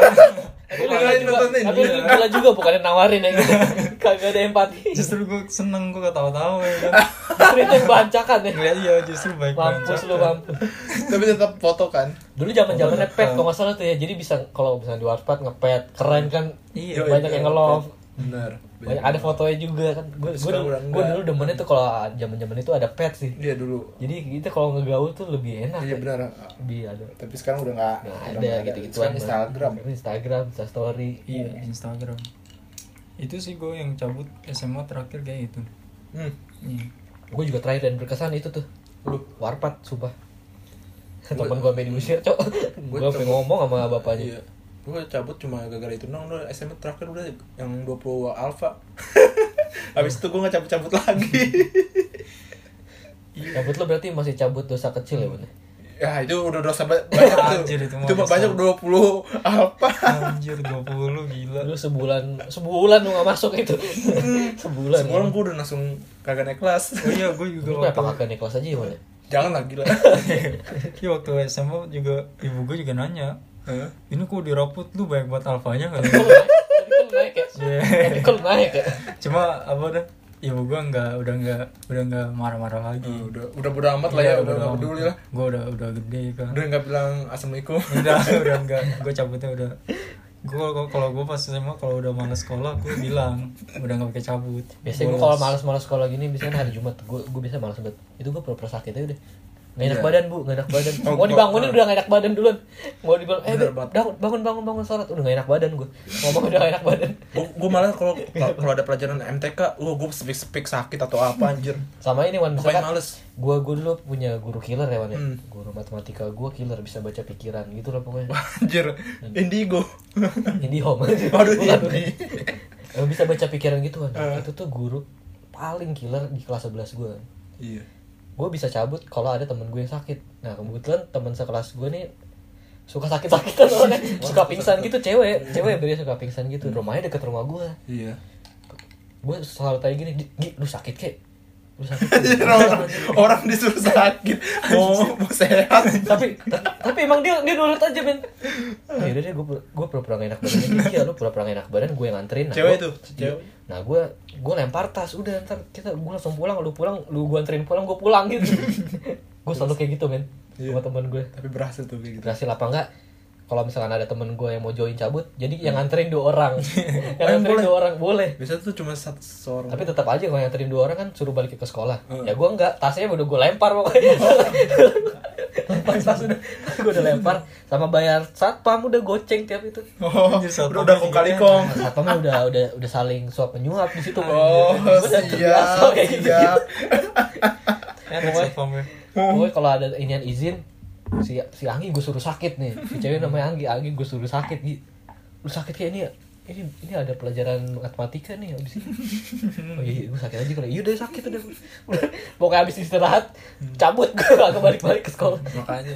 [SPEAKER 1] Tapi lu
[SPEAKER 2] Makanya
[SPEAKER 1] gila juga,
[SPEAKER 2] nontonin.
[SPEAKER 1] tapi lu gila juga bukannya nawarin ya gitu. Kagak ada empati.
[SPEAKER 3] justru gue seneng gue ketawa-tawa ya kan
[SPEAKER 1] Justru itu yang bancakan ya.
[SPEAKER 3] ngeliat iya justru baik
[SPEAKER 1] Mampus lu mampus.
[SPEAKER 2] tapi tetap foto kan
[SPEAKER 1] Dulu zaman zamannya pet kalau nggak salah tuh ya. Jadi bisa kalau misalnya di warpat ngepet keren kan.
[SPEAKER 3] Iya,
[SPEAKER 1] banyak yang nge-love.
[SPEAKER 2] benar
[SPEAKER 1] Banyak ada fotonya juga kan. Gue gue
[SPEAKER 2] Sekarang udah
[SPEAKER 1] gue dulu demennya tuh kalau zaman-zaman itu ada pet sih.
[SPEAKER 2] dia Iya, dulu
[SPEAKER 1] Jadi kita kalau ngegaul tuh lebih enak. ya.
[SPEAKER 2] iya benar
[SPEAKER 1] Lebih ada.
[SPEAKER 2] tapi sekarang udah nggak
[SPEAKER 1] Nah,
[SPEAKER 2] udah
[SPEAKER 1] ada
[SPEAKER 2] nggak
[SPEAKER 1] gitu-gituan.
[SPEAKER 2] Sekarang Instagram
[SPEAKER 1] Instagram, Insta story.
[SPEAKER 3] Iya, Instagram. Itu sih gue yang cabut SMA terakhir kayak itu.
[SPEAKER 2] hmm.
[SPEAKER 3] Iya.
[SPEAKER 1] Gue juga terakhir dan berkesan itu tuh.
[SPEAKER 2] Lu?
[SPEAKER 1] warpat sumpah. Temen gue sampai diusir, Cok. Gue sampai ngomong sama bapaknya.
[SPEAKER 2] iya gue cabut cuma gara-gara itu nong udah SMA terakhir udah yang 20 alfa habis itu gue nggak cabut-cabut lagi
[SPEAKER 1] Cabut lo berarti masih cabut dosa kecil ya, Bun?
[SPEAKER 2] ya itu udah dosa ba- banyak
[SPEAKER 3] Anjir,
[SPEAKER 2] itu
[SPEAKER 3] itu mah
[SPEAKER 2] itu mah
[SPEAKER 3] dosa.
[SPEAKER 2] banyak 20 alfa
[SPEAKER 3] Anjir 20 gila.
[SPEAKER 1] Lu sebulan sebulan lu gak masuk itu. sebulan. ya.
[SPEAKER 2] sebelum gue udah langsung kagak naik kelas
[SPEAKER 3] Oh iya, gue juga
[SPEAKER 1] Lu
[SPEAKER 3] waktu,
[SPEAKER 1] kenapa kakak naik kelas aja ya, Bun?
[SPEAKER 2] jangan lagi lah
[SPEAKER 3] iya, waktu SMA juga ibu gue juga nanya.
[SPEAKER 2] Hah?
[SPEAKER 3] Ini kok di rapot lu banyak buat alfanya kali.
[SPEAKER 1] Tapi kan lu naik ya?
[SPEAKER 3] Iya.
[SPEAKER 1] Tapi kan lu naik ya?
[SPEAKER 3] Cuma apa dah? Ibu gue nggak udah nggak udah nggak marah-marah lagi. Iya,
[SPEAKER 2] Eh, udah udah bodo amat lah ya udah nggak peduli lah
[SPEAKER 3] Gue udah udah gede kan.
[SPEAKER 2] udah nggak bilang assalamualaikum
[SPEAKER 3] udah udah enggak gue cabutnya udah gue kalau gue pas SMA kalau udah males sekolah gue bilang udah nggak pakai cabut
[SPEAKER 1] Biasanya gue kalau malas-malas sekolah gini, biasanya hari Jumat, gue gue biasa malas banget. Itu gue pura-pura sakit aja deh. Gak enak
[SPEAKER 2] Iya.
[SPEAKER 1] badan bu, gak enak badan.
[SPEAKER 2] Oh,
[SPEAKER 1] mau
[SPEAKER 2] gua-
[SPEAKER 1] dibangunin
[SPEAKER 2] ah.
[SPEAKER 1] udah gak enak badan duluan. Mau dibangun, eh
[SPEAKER 2] Bener
[SPEAKER 1] Beb,
[SPEAKER 2] banget.
[SPEAKER 1] bangun bangun bangun bangun sholat. Udah gak enak badan gue. Ngomong udah gak enak badan.
[SPEAKER 2] gue malah kalau kalau ada pelajaran MTK, wah gue speak speak sakit atau apa anjir.
[SPEAKER 1] Sama ini Wan,
[SPEAKER 2] Pokoknya
[SPEAKER 1] misalkan
[SPEAKER 2] males.
[SPEAKER 1] gue gue dulu punya guru killer ya Wan ya.
[SPEAKER 2] Hmm.
[SPEAKER 1] Guru matematika gue killer bisa baca pikiran gitu lah pokoknya.
[SPEAKER 2] Anjir, indigo.
[SPEAKER 1] Ini home.
[SPEAKER 2] Waduh, iya,
[SPEAKER 1] Bukan.
[SPEAKER 2] ini.
[SPEAKER 1] Eh, bisa baca pikiran gitu Wan.
[SPEAKER 2] Eh.
[SPEAKER 1] Itu tuh guru paling killer di kelas 11 gue.
[SPEAKER 2] Iya.
[SPEAKER 1] Gue bisa cabut kalau ada temen gue yang sakit. Nah kebetulan temen sekelas gue nih suka sakit-sakitan orangnya. suka pingsan gitu cewek
[SPEAKER 2] Hmm.
[SPEAKER 1] cewek beri suka pingsan gitu rumahnya deket rumah gue
[SPEAKER 2] Iya.
[SPEAKER 1] gue selalu tanya gini "Di, Gi, lu sakit kek lu sakit gitu.
[SPEAKER 2] Anjir,
[SPEAKER 1] kek?"
[SPEAKER 2] orang, orang disuruh sakit, mau mau sehat.
[SPEAKER 1] tapi ta- tapi emang dia dia nurut aja Ya men akhirnya dia gue gue pura-pura gak enak badan Dia, iya lu pura-pura gak enak badan gue yang nganterin nah,
[SPEAKER 2] Cewek
[SPEAKER 1] gua-
[SPEAKER 2] tuh, cewek.
[SPEAKER 1] nah gue gue lempar tas udah ntar kita gue langsung pulang lu pulang lu gue anterin pulang gue pulang gitu gue selalu kayak gitu men
[SPEAKER 2] Iya.
[SPEAKER 1] sama temen gue
[SPEAKER 2] Tapi berhasil tuh kayak gitu.
[SPEAKER 1] berhasil apa enggak kalau misalkan ada temen gue yang mau join cabut jadi yang nganterin dua orang
[SPEAKER 2] Oh,
[SPEAKER 1] yang
[SPEAKER 2] yang
[SPEAKER 1] nganterin
[SPEAKER 2] boleh?
[SPEAKER 1] dua orang boleh
[SPEAKER 2] Biasanya tuh cuma satu seorang.
[SPEAKER 1] tapi tetap aja kalau nganterin dua orang kan suruh balik ke sekolah
[SPEAKER 2] Heeh.
[SPEAKER 1] ya gue enggak tasnya udah gue lempar pokoknya
[SPEAKER 2] Iya.
[SPEAKER 1] pas tas udah gue udah lempar sama bayar satpam udah goceng tiap itu
[SPEAKER 2] Oh,
[SPEAKER 3] Anjir,
[SPEAKER 2] udah,
[SPEAKER 3] satpam
[SPEAKER 2] udah kong kali kong.
[SPEAKER 1] Nah, satpamnya udah udah udah saling suap menyuap di situ
[SPEAKER 2] Oh,
[SPEAKER 1] Gua udah terbiasa
[SPEAKER 2] siap,
[SPEAKER 1] kayak gitu
[SPEAKER 2] siap.
[SPEAKER 3] Enak
[SPEAKER 1] Pokoknya-
[SPEAKER 3] satpamnya.
[SPEAKER 1] Pokoknya kalau ada inian izin si si Anggi gue suruh sakit nih. Si cewek namanya Anggi, Anggi gue suruh sakit Gi. Lu sakit kayak ini ya? Ini ini ada pelajaran matematika nih abis ini. Oh iya, iya gue sakit aja kalau iya udah sakit udah. Udah, Pokoknya abis istirahat
[SPEAKER 2] Hmm.
[SPEAKER 1] cabut gue gak balik-balik ke sekolah.
[SPEAKER 2] Makanya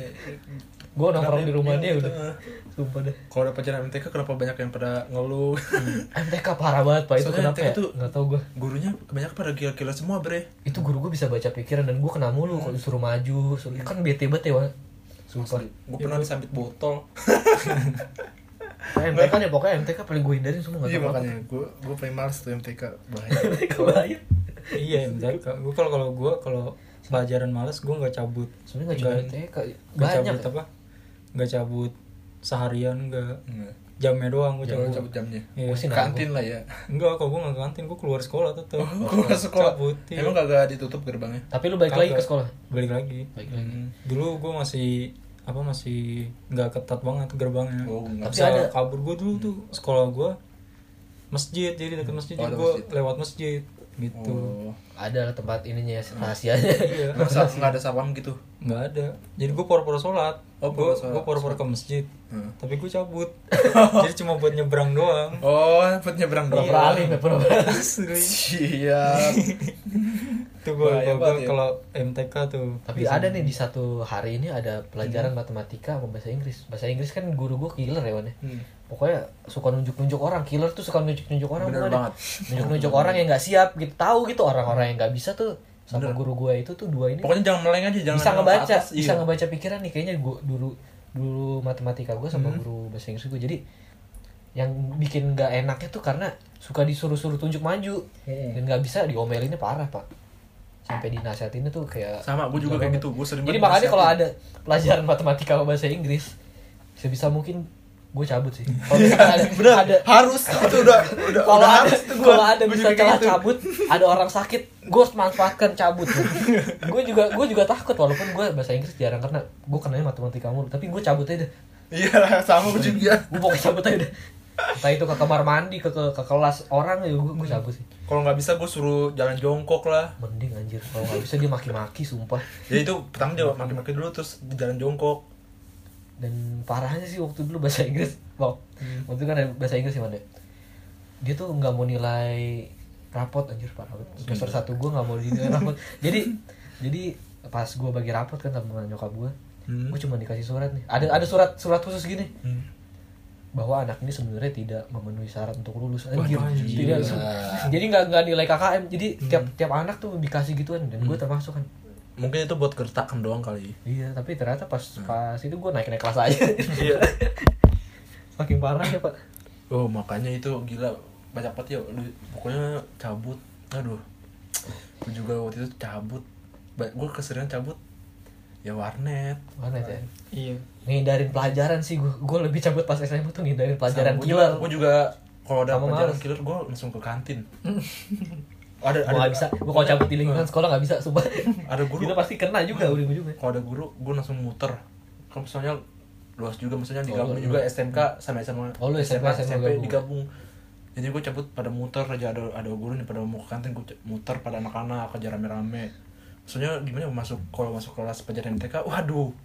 [SPEAKER 1] Gue nongkrong di rumah dia
[SPEAKER 2] Iya,
[SPEAKER 1] udah.
[SPEAKER 2] heeh.
[SPEAKER 1] Sumpah deh.
[SPEAKER 2] Kalau ada pelajaran MTK kenapa banyak yang pada ngeluh?
[SPEAKER 1] MTK parah banget pak itu
[SPEAKER 2] Soalnya
[SPEAKER 1] kenapa
[SPEAKER 2] MTK
[SPEAKER 1] ya?
[SPEAKER 2] tuh-
[SPEAKER 1] Gak tau gue.
[SPEAKER 2] Gurunya kebanyakan pada gila-gila semua, Bre.
[SPEAKER 1] Itu guru gue bisa baca pikiran dan gue kena mulu
[SPEAKER 2] Ah.
[SPEAKER 1] kalau disuruh maju. Suruh, kan bete banget ya Wan. Sumpah.
[SPEAKER 2] Gue pernah disambit botol.
[SPEAKER 1] Nah, MTK nih pokoknya MTK paling gue hindarin semua gak
[SPEAKER 2] Iya
[SPEAKER 1] tau kenapa.
[SPEAKER 2] makanya gue gue paling males tuh MTK bahaya.
[SPEAKER 1] Kebayang.
[SPEAKER 3] Iya, MTK. Gue kalau kalau gue kalau pelajaran malas gue nggak cabut.
[SPEAKER 1] Sebenarnya nggak cuma
[SPEAKER 3] Nggak-
[SPEAKER 1] ITK,
[SPEAKER 3] Nggak
[SPEAKER 1] banyak.
[SPEAKER 2] ya?
[SPEAKER 3] cabut apa? Nggak cabut seharian nggak
[SPEAKER 2] Enggak.
[SPEAKER 3] jamnya doang gue
[SPEAKER 2] Jangan
[SPEAKER 3] cabut.
[SPEAKER 2] cabut jamnya.
[SPEAKER 3] Iya.
[SPEAKER 1] Gua sih nanggung.
[SPEAKER 2] Kantin lah ya.
[SPEAKER 3] Enggak, kalau gue nggak ke kantin, gue keluar sekolah tetap.
[SPEAKER 2] Keluar Oh, sekolah.
[SPEAKER 3] Cabut. iya.
[SPEAKER 2] Emang kagak ditutup gerbangnya?
[SPEAKER 1] Tapi lu balik lagi ke
[SPEAKER 3] Kagak.
[SPEAKER 1] sekolah.
[SPEAKER 3] Balik lagi.
[SPEAKER 1] Balik lagi.
[SPEAKER 2] Hmm.
[SPEAKER 3] Dulu gue masih apa masih nggak ketat banget gerbangnya.
[SPEAKER 2] Oh, enggak.
[SPEAKER 1] Tapi
[SPEAKER 3] Bisa
[SPEAKER 1] ada-
[SPEAKER 3] kabur gue dulu tuh sekolah gue masjid jadi dekat masjid
[SPEAKER 2] Oh,
[SPEAKER 3] jadi
[SPEAKER 2] ada
[SPEAKER 3] gue
[SPEAKER 2] masjid.
[SPEAKER 3] lewat masjid gitu.
[SPEAKER 2] Oh.
[SPEAKER 1] Ada lah tempat ininya ya, rahasianya.
[SPEAKER 3] Iya.
[SPEAKER 2] Masa enggak ada sapam gitu?
[SPEAKER 3] nggak ada jadi gue pura-pura sholat
[SPEAKER 2] Oh,
[SPEAKER 3] gue
[SPEAKER 2] pura-pura sholat.
[SPEAKER 3] gue pura-pura ke masjid
[SPEAKER 2] Hmm.
[SPEAKER 3] tapi gue cabut jadi cuma buat nyebrang doang
[SPEAKER 2] Oh, buat nyebrang doang.
[SPEAKER 1] Pura-pura alim ya, pura-pura.
[SPEAKER 3] asli
[SPEAKER 2] Siap.
[SPEAKER 3] itu gue
[SPEAKER 2] Bahaya banget ya.
[SPEAKER 3] kalau MTK tuh Iya.
[SPEAKER 1] Tapi ada nih di satu hari ini ada pelajaran matematika sama bahasa Inggris. Bahasa Inggris kan guru gue killer ya, Wan. ya.
[SPEAKER 2] Hmm.
[SPEAKER 1] Pokoknya suka nunjuk-nunjuk orang. Killer tuh suka nunjuk-nunjuk orang.
[SPEAKER 2] Bener
[SPEAKER 1] pokoknya deh.
[SPEAKER 2] banget.
[SPEAKER 1] Nunjuk-nunjuk orang yang nggak siap gitu. Tahu gitu orang-orang yang nggak bisa tuh sama guru gue itu tuh dua ini
[SPEAKER 2] Pokoknya jangan meleng aja, jangan
[SPEAKER 1] bisa
[SPEAKER 2] nengok ke
[SPEAKER 1] ngebaca
[SPEAKER 2] atas,
[SPEAKER 1] bisa
[SPEAKER 2] iya.
[SPEAKER 1] ngebaca pikiran nih kayaknya gua dulu dulu matematika gue
[SPEAKER 2] Hmm.
[SPEAKER 1] sama guru bahasa Inggris gue jadi yang bikin nggak enaknya tuh karena suka disuruh-suruh tunjuk maju
[SPEAKER 2] Heeh.
[SPEAKER 1] dan nggak bisa diomelinnya parah pak sampai dinasehatinnya tuh kayak
[SPEAKER 2] Sama, gua juga
[SPEAKER 1] Gila
[SPEAKER 2] kayak
[SPEAKER 1] banget.
[SPEAKER 2] gitu, gua sering
[SPEAKER 1] jadi
[SPEAKER 2] banget
[SPEAKER 1] makanya kalau ada
[SPEAKER 2] dinasehatin.
[SPEAKER 1] pelajaran matematika sama bahasa Inggris sebisa mungkin gue cabut sih kalau misalkan ada,
[SPEAKER 2] Bener,
[SPEAKER 1] ada
[SPEAKER 2] harus itu udah udah
[SPEAKER 1] kalau
[SPEAKER 2] udah
[SPEAKER 1] ada
[SPEAKER 2] harus tuh gua.
[SPEAKER 1] kalau ada
[SPEAKER 2] Gua
[SPEAKER 1] bisa
[SPEAKER 2] juga
[SPEAKER 1] celah
[SPEAKER 2] gitu.
[SPEAKER 1] cabut ada orang sakit gue harus manfaatkan cabut gue juga gue juga takut walaupun gue bahasa Inggris jarang karena gue kenanya matematika mulu tapi gue cabut aja deh
[SPEAKER 2] Iya, sama gua juga.
[SPEAKER 1] gue pokoknya cabut aja deh entah itu ke kamar mandi ke ke, ke kelas orang ya gue gue cabut sih
[SPEAKER 2] Kalau nggak bisa gua suruh jalan jongkok lah.
[SPEAKER 1] mending anjir kalau nggak bisa dia maki-maki sumpah
[SPEAKER 2] Ya itu pertama dia maki-maki dulu terus di jalan jongkok.
[SPEAKER 1] dan parahnya sih waktu dulu bahasa Inggris waktu, waktu itu kan ada bahasa Inggris sih mana dia tuh nggak mau nilai rapot anjir parah banget semester satu gue nggak mau dinilai rapot jadi jadi pas gue bagi rapot kan sama nyokap gue
[SPEAKER 2] Hmm.
[SPEAKER 1] gue cuma dikasih surat nih ada ada surat surat khusus gini
[SPEAKER 2] Hmm.
[SPEAKER 1] bahwa anak ini sebenarnya tidak memenuhi syarat untuk lulus
[SPEAKER 3] Waduh,
[SPEAKER 1] anjir
[SPEAKER 3] anjir.
[SPEAKER 1] tidak jadi nggak nggak nilai KKM jadi tiap tiap anak tuh dikasih gituan dan gue termasuk kan
[SPEAKER 2] Mungkin itu buat gertakan doang kali.
[SPEAKER 1] Iya, tapi ternyata pas pas itu gue naik naik kelas aja.
[SPEAKER 2] Iya.
[SPEAKER 1] Makin parah ya pak.
[SPEAKER 2] Oh, makanya itu gila banyak banget ya. Lu- Pokoknya cabut. Aduh. Gue juga waktu itu cabut. Gue keseringan cabut ya warnet.
[SPEAKER 1] Mana ya?
[SPEAKER 3] iya
[SPEAKER 1] Ngindarin pelajaran sih gue. Gue lebih cabut pas SMA tuh ngindarin pelajaran
[SPEAKER 2] Sama, gua
[SPEAKER 1] killer.
[SPEAKER 2] juga- Gua juga kalau ada
[SPEAKER 1] Sama
[SPEAKER 2] pelajaran
[SPEAKER 1] males.
[SPEAKER 2] killer gue langsung ke kantin. ada
[SPEAKER 1] Gua
[SPEAKER 2] ada
[SPEAKER 1] nggak bisa, gua kalau cabut di lingkungan sekolah nggak bisa, sumpah.
[SPEAKER 2] Ada guru.
[SPEAKER 1] Itu pasti kena juga ujung-ujungnya.
[SPEAKER 2] kalau ada guru gue langsung muter kalau misalnya luas juga misalnya
[SPEAKER 1] Oh,
[SPEAKER 2] digabung
[SPEAKER 1] lu-
[SPEAKER 2] juga SMK sama SMA
[SPEAKER 1] Oh, lu
[SPEAKER 2] SMA,
[SPEAKER 1] SMA
[SPEAKER 2] SMP
[SPEAKER 1] gabung.
[SPEAKER 2] digabung jadi gue cabut pada muter aja ada ada guru nih pada mau ke kantin gue muter pada anak-anak aja rame-rame maksudnya gimana ya, masuk kalau masuk kelas pelajaran MTK waduh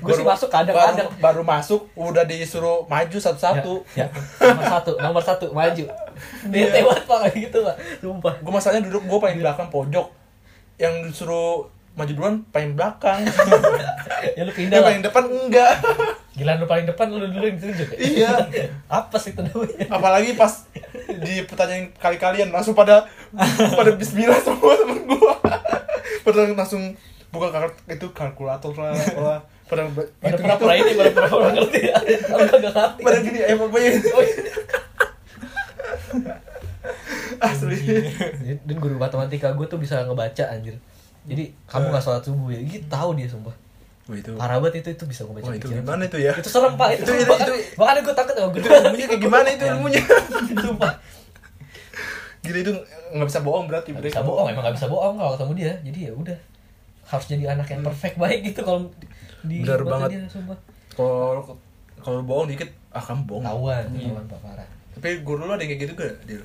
[SPEAKER 1] Gua sih
[SPEAKER 2] Baru-
[SPEAKER 1] masuk kadang-kadang.
[SPEAKER 2] baru, baru masuk udah disuruh maju satu-satu
[SPEAKER 1] Ya, ya. nomor satu, nomor satu, maju. Bete banget pak kayak gitu pak, sumpah.
[SPEAKER 2] gue masalahnya duduk gue paling belakang pojok yang disuruh maju duluan paling belakang
[SPEAKER 1] Ya lu pindah
[SPEAKER 2] yang
[SPEAKER 1] lah.
[SPEAKER 2] paling depan enggak
[SPEAKER 1] Gila lu paling depan lu dulu yang ditunjuk. ya?
[SPEAKER 2] Iya.
[SPEAKER 1] Apa sih itu namanya?
[SPEAKER 2] apalagi pas di pertanyaan kali-kalian langsung pada pada bismillah semua temen gua pada langsung buka kalk- itu kalkulator lah lah pada
[SPEAKER 1] Pada
[SPEAKER 2] gitu
[SPEAKER 1] pura-pura ini, pada pura-pura ngerti ya. Aku kagak ngerti.
[SPEAKER 2] pada gini eh pokoknya itu asli
[SPEAKER 1] Dan guru matematika gue tuh bisa ngebaca anjir. Jadi kamu gak sholat subuh ya? Gitu tahu dia sumpah.
[SPEAKER 2] Wah itu
[SPEAKER 1] Parah banget itu itu bisa ngebaca
[SPEAKER 2] Wah, itu
[SPEAKER 1] pikiran.
[SPEAKER 2] gimana itu ya?
[SPEAKER 1] Itu serem pak. Itu,
[SPEAKER 2] Itu- itu-
[SPEAKER 1] makanya,
[SPEAKER 2] itu-
[SPEAKER 1] makanya gue takut sama guru.
[SPEAKER 2] ilmunya kayak gimana itu ilmunya?
[SPEAKER 1] Sumpah.
[SPEAKER 2] gila itu nggak bisa bohong berarti
[SPEAKER 1] Gak
[SPEAKER 2] mereka.
[SPEAKER 1] bisa bohong, emang gak bisa bohong kalau ketemu dia. Jadi ya udah harus jadi anak yang perfect baik gitu kalau di mata
[SPEAKER 2] Bener Hmm. banget.
[SPEAKER 1] dia, sumpah.
[SPEAKER 2] kalau kalau bohong dikit ah kamu bohong
[SPEAKER 1] Ketahuan, ketahuan pak parah.
[SPEAKER 2] tapi guru lu ada yang kayak gitu gak Dil?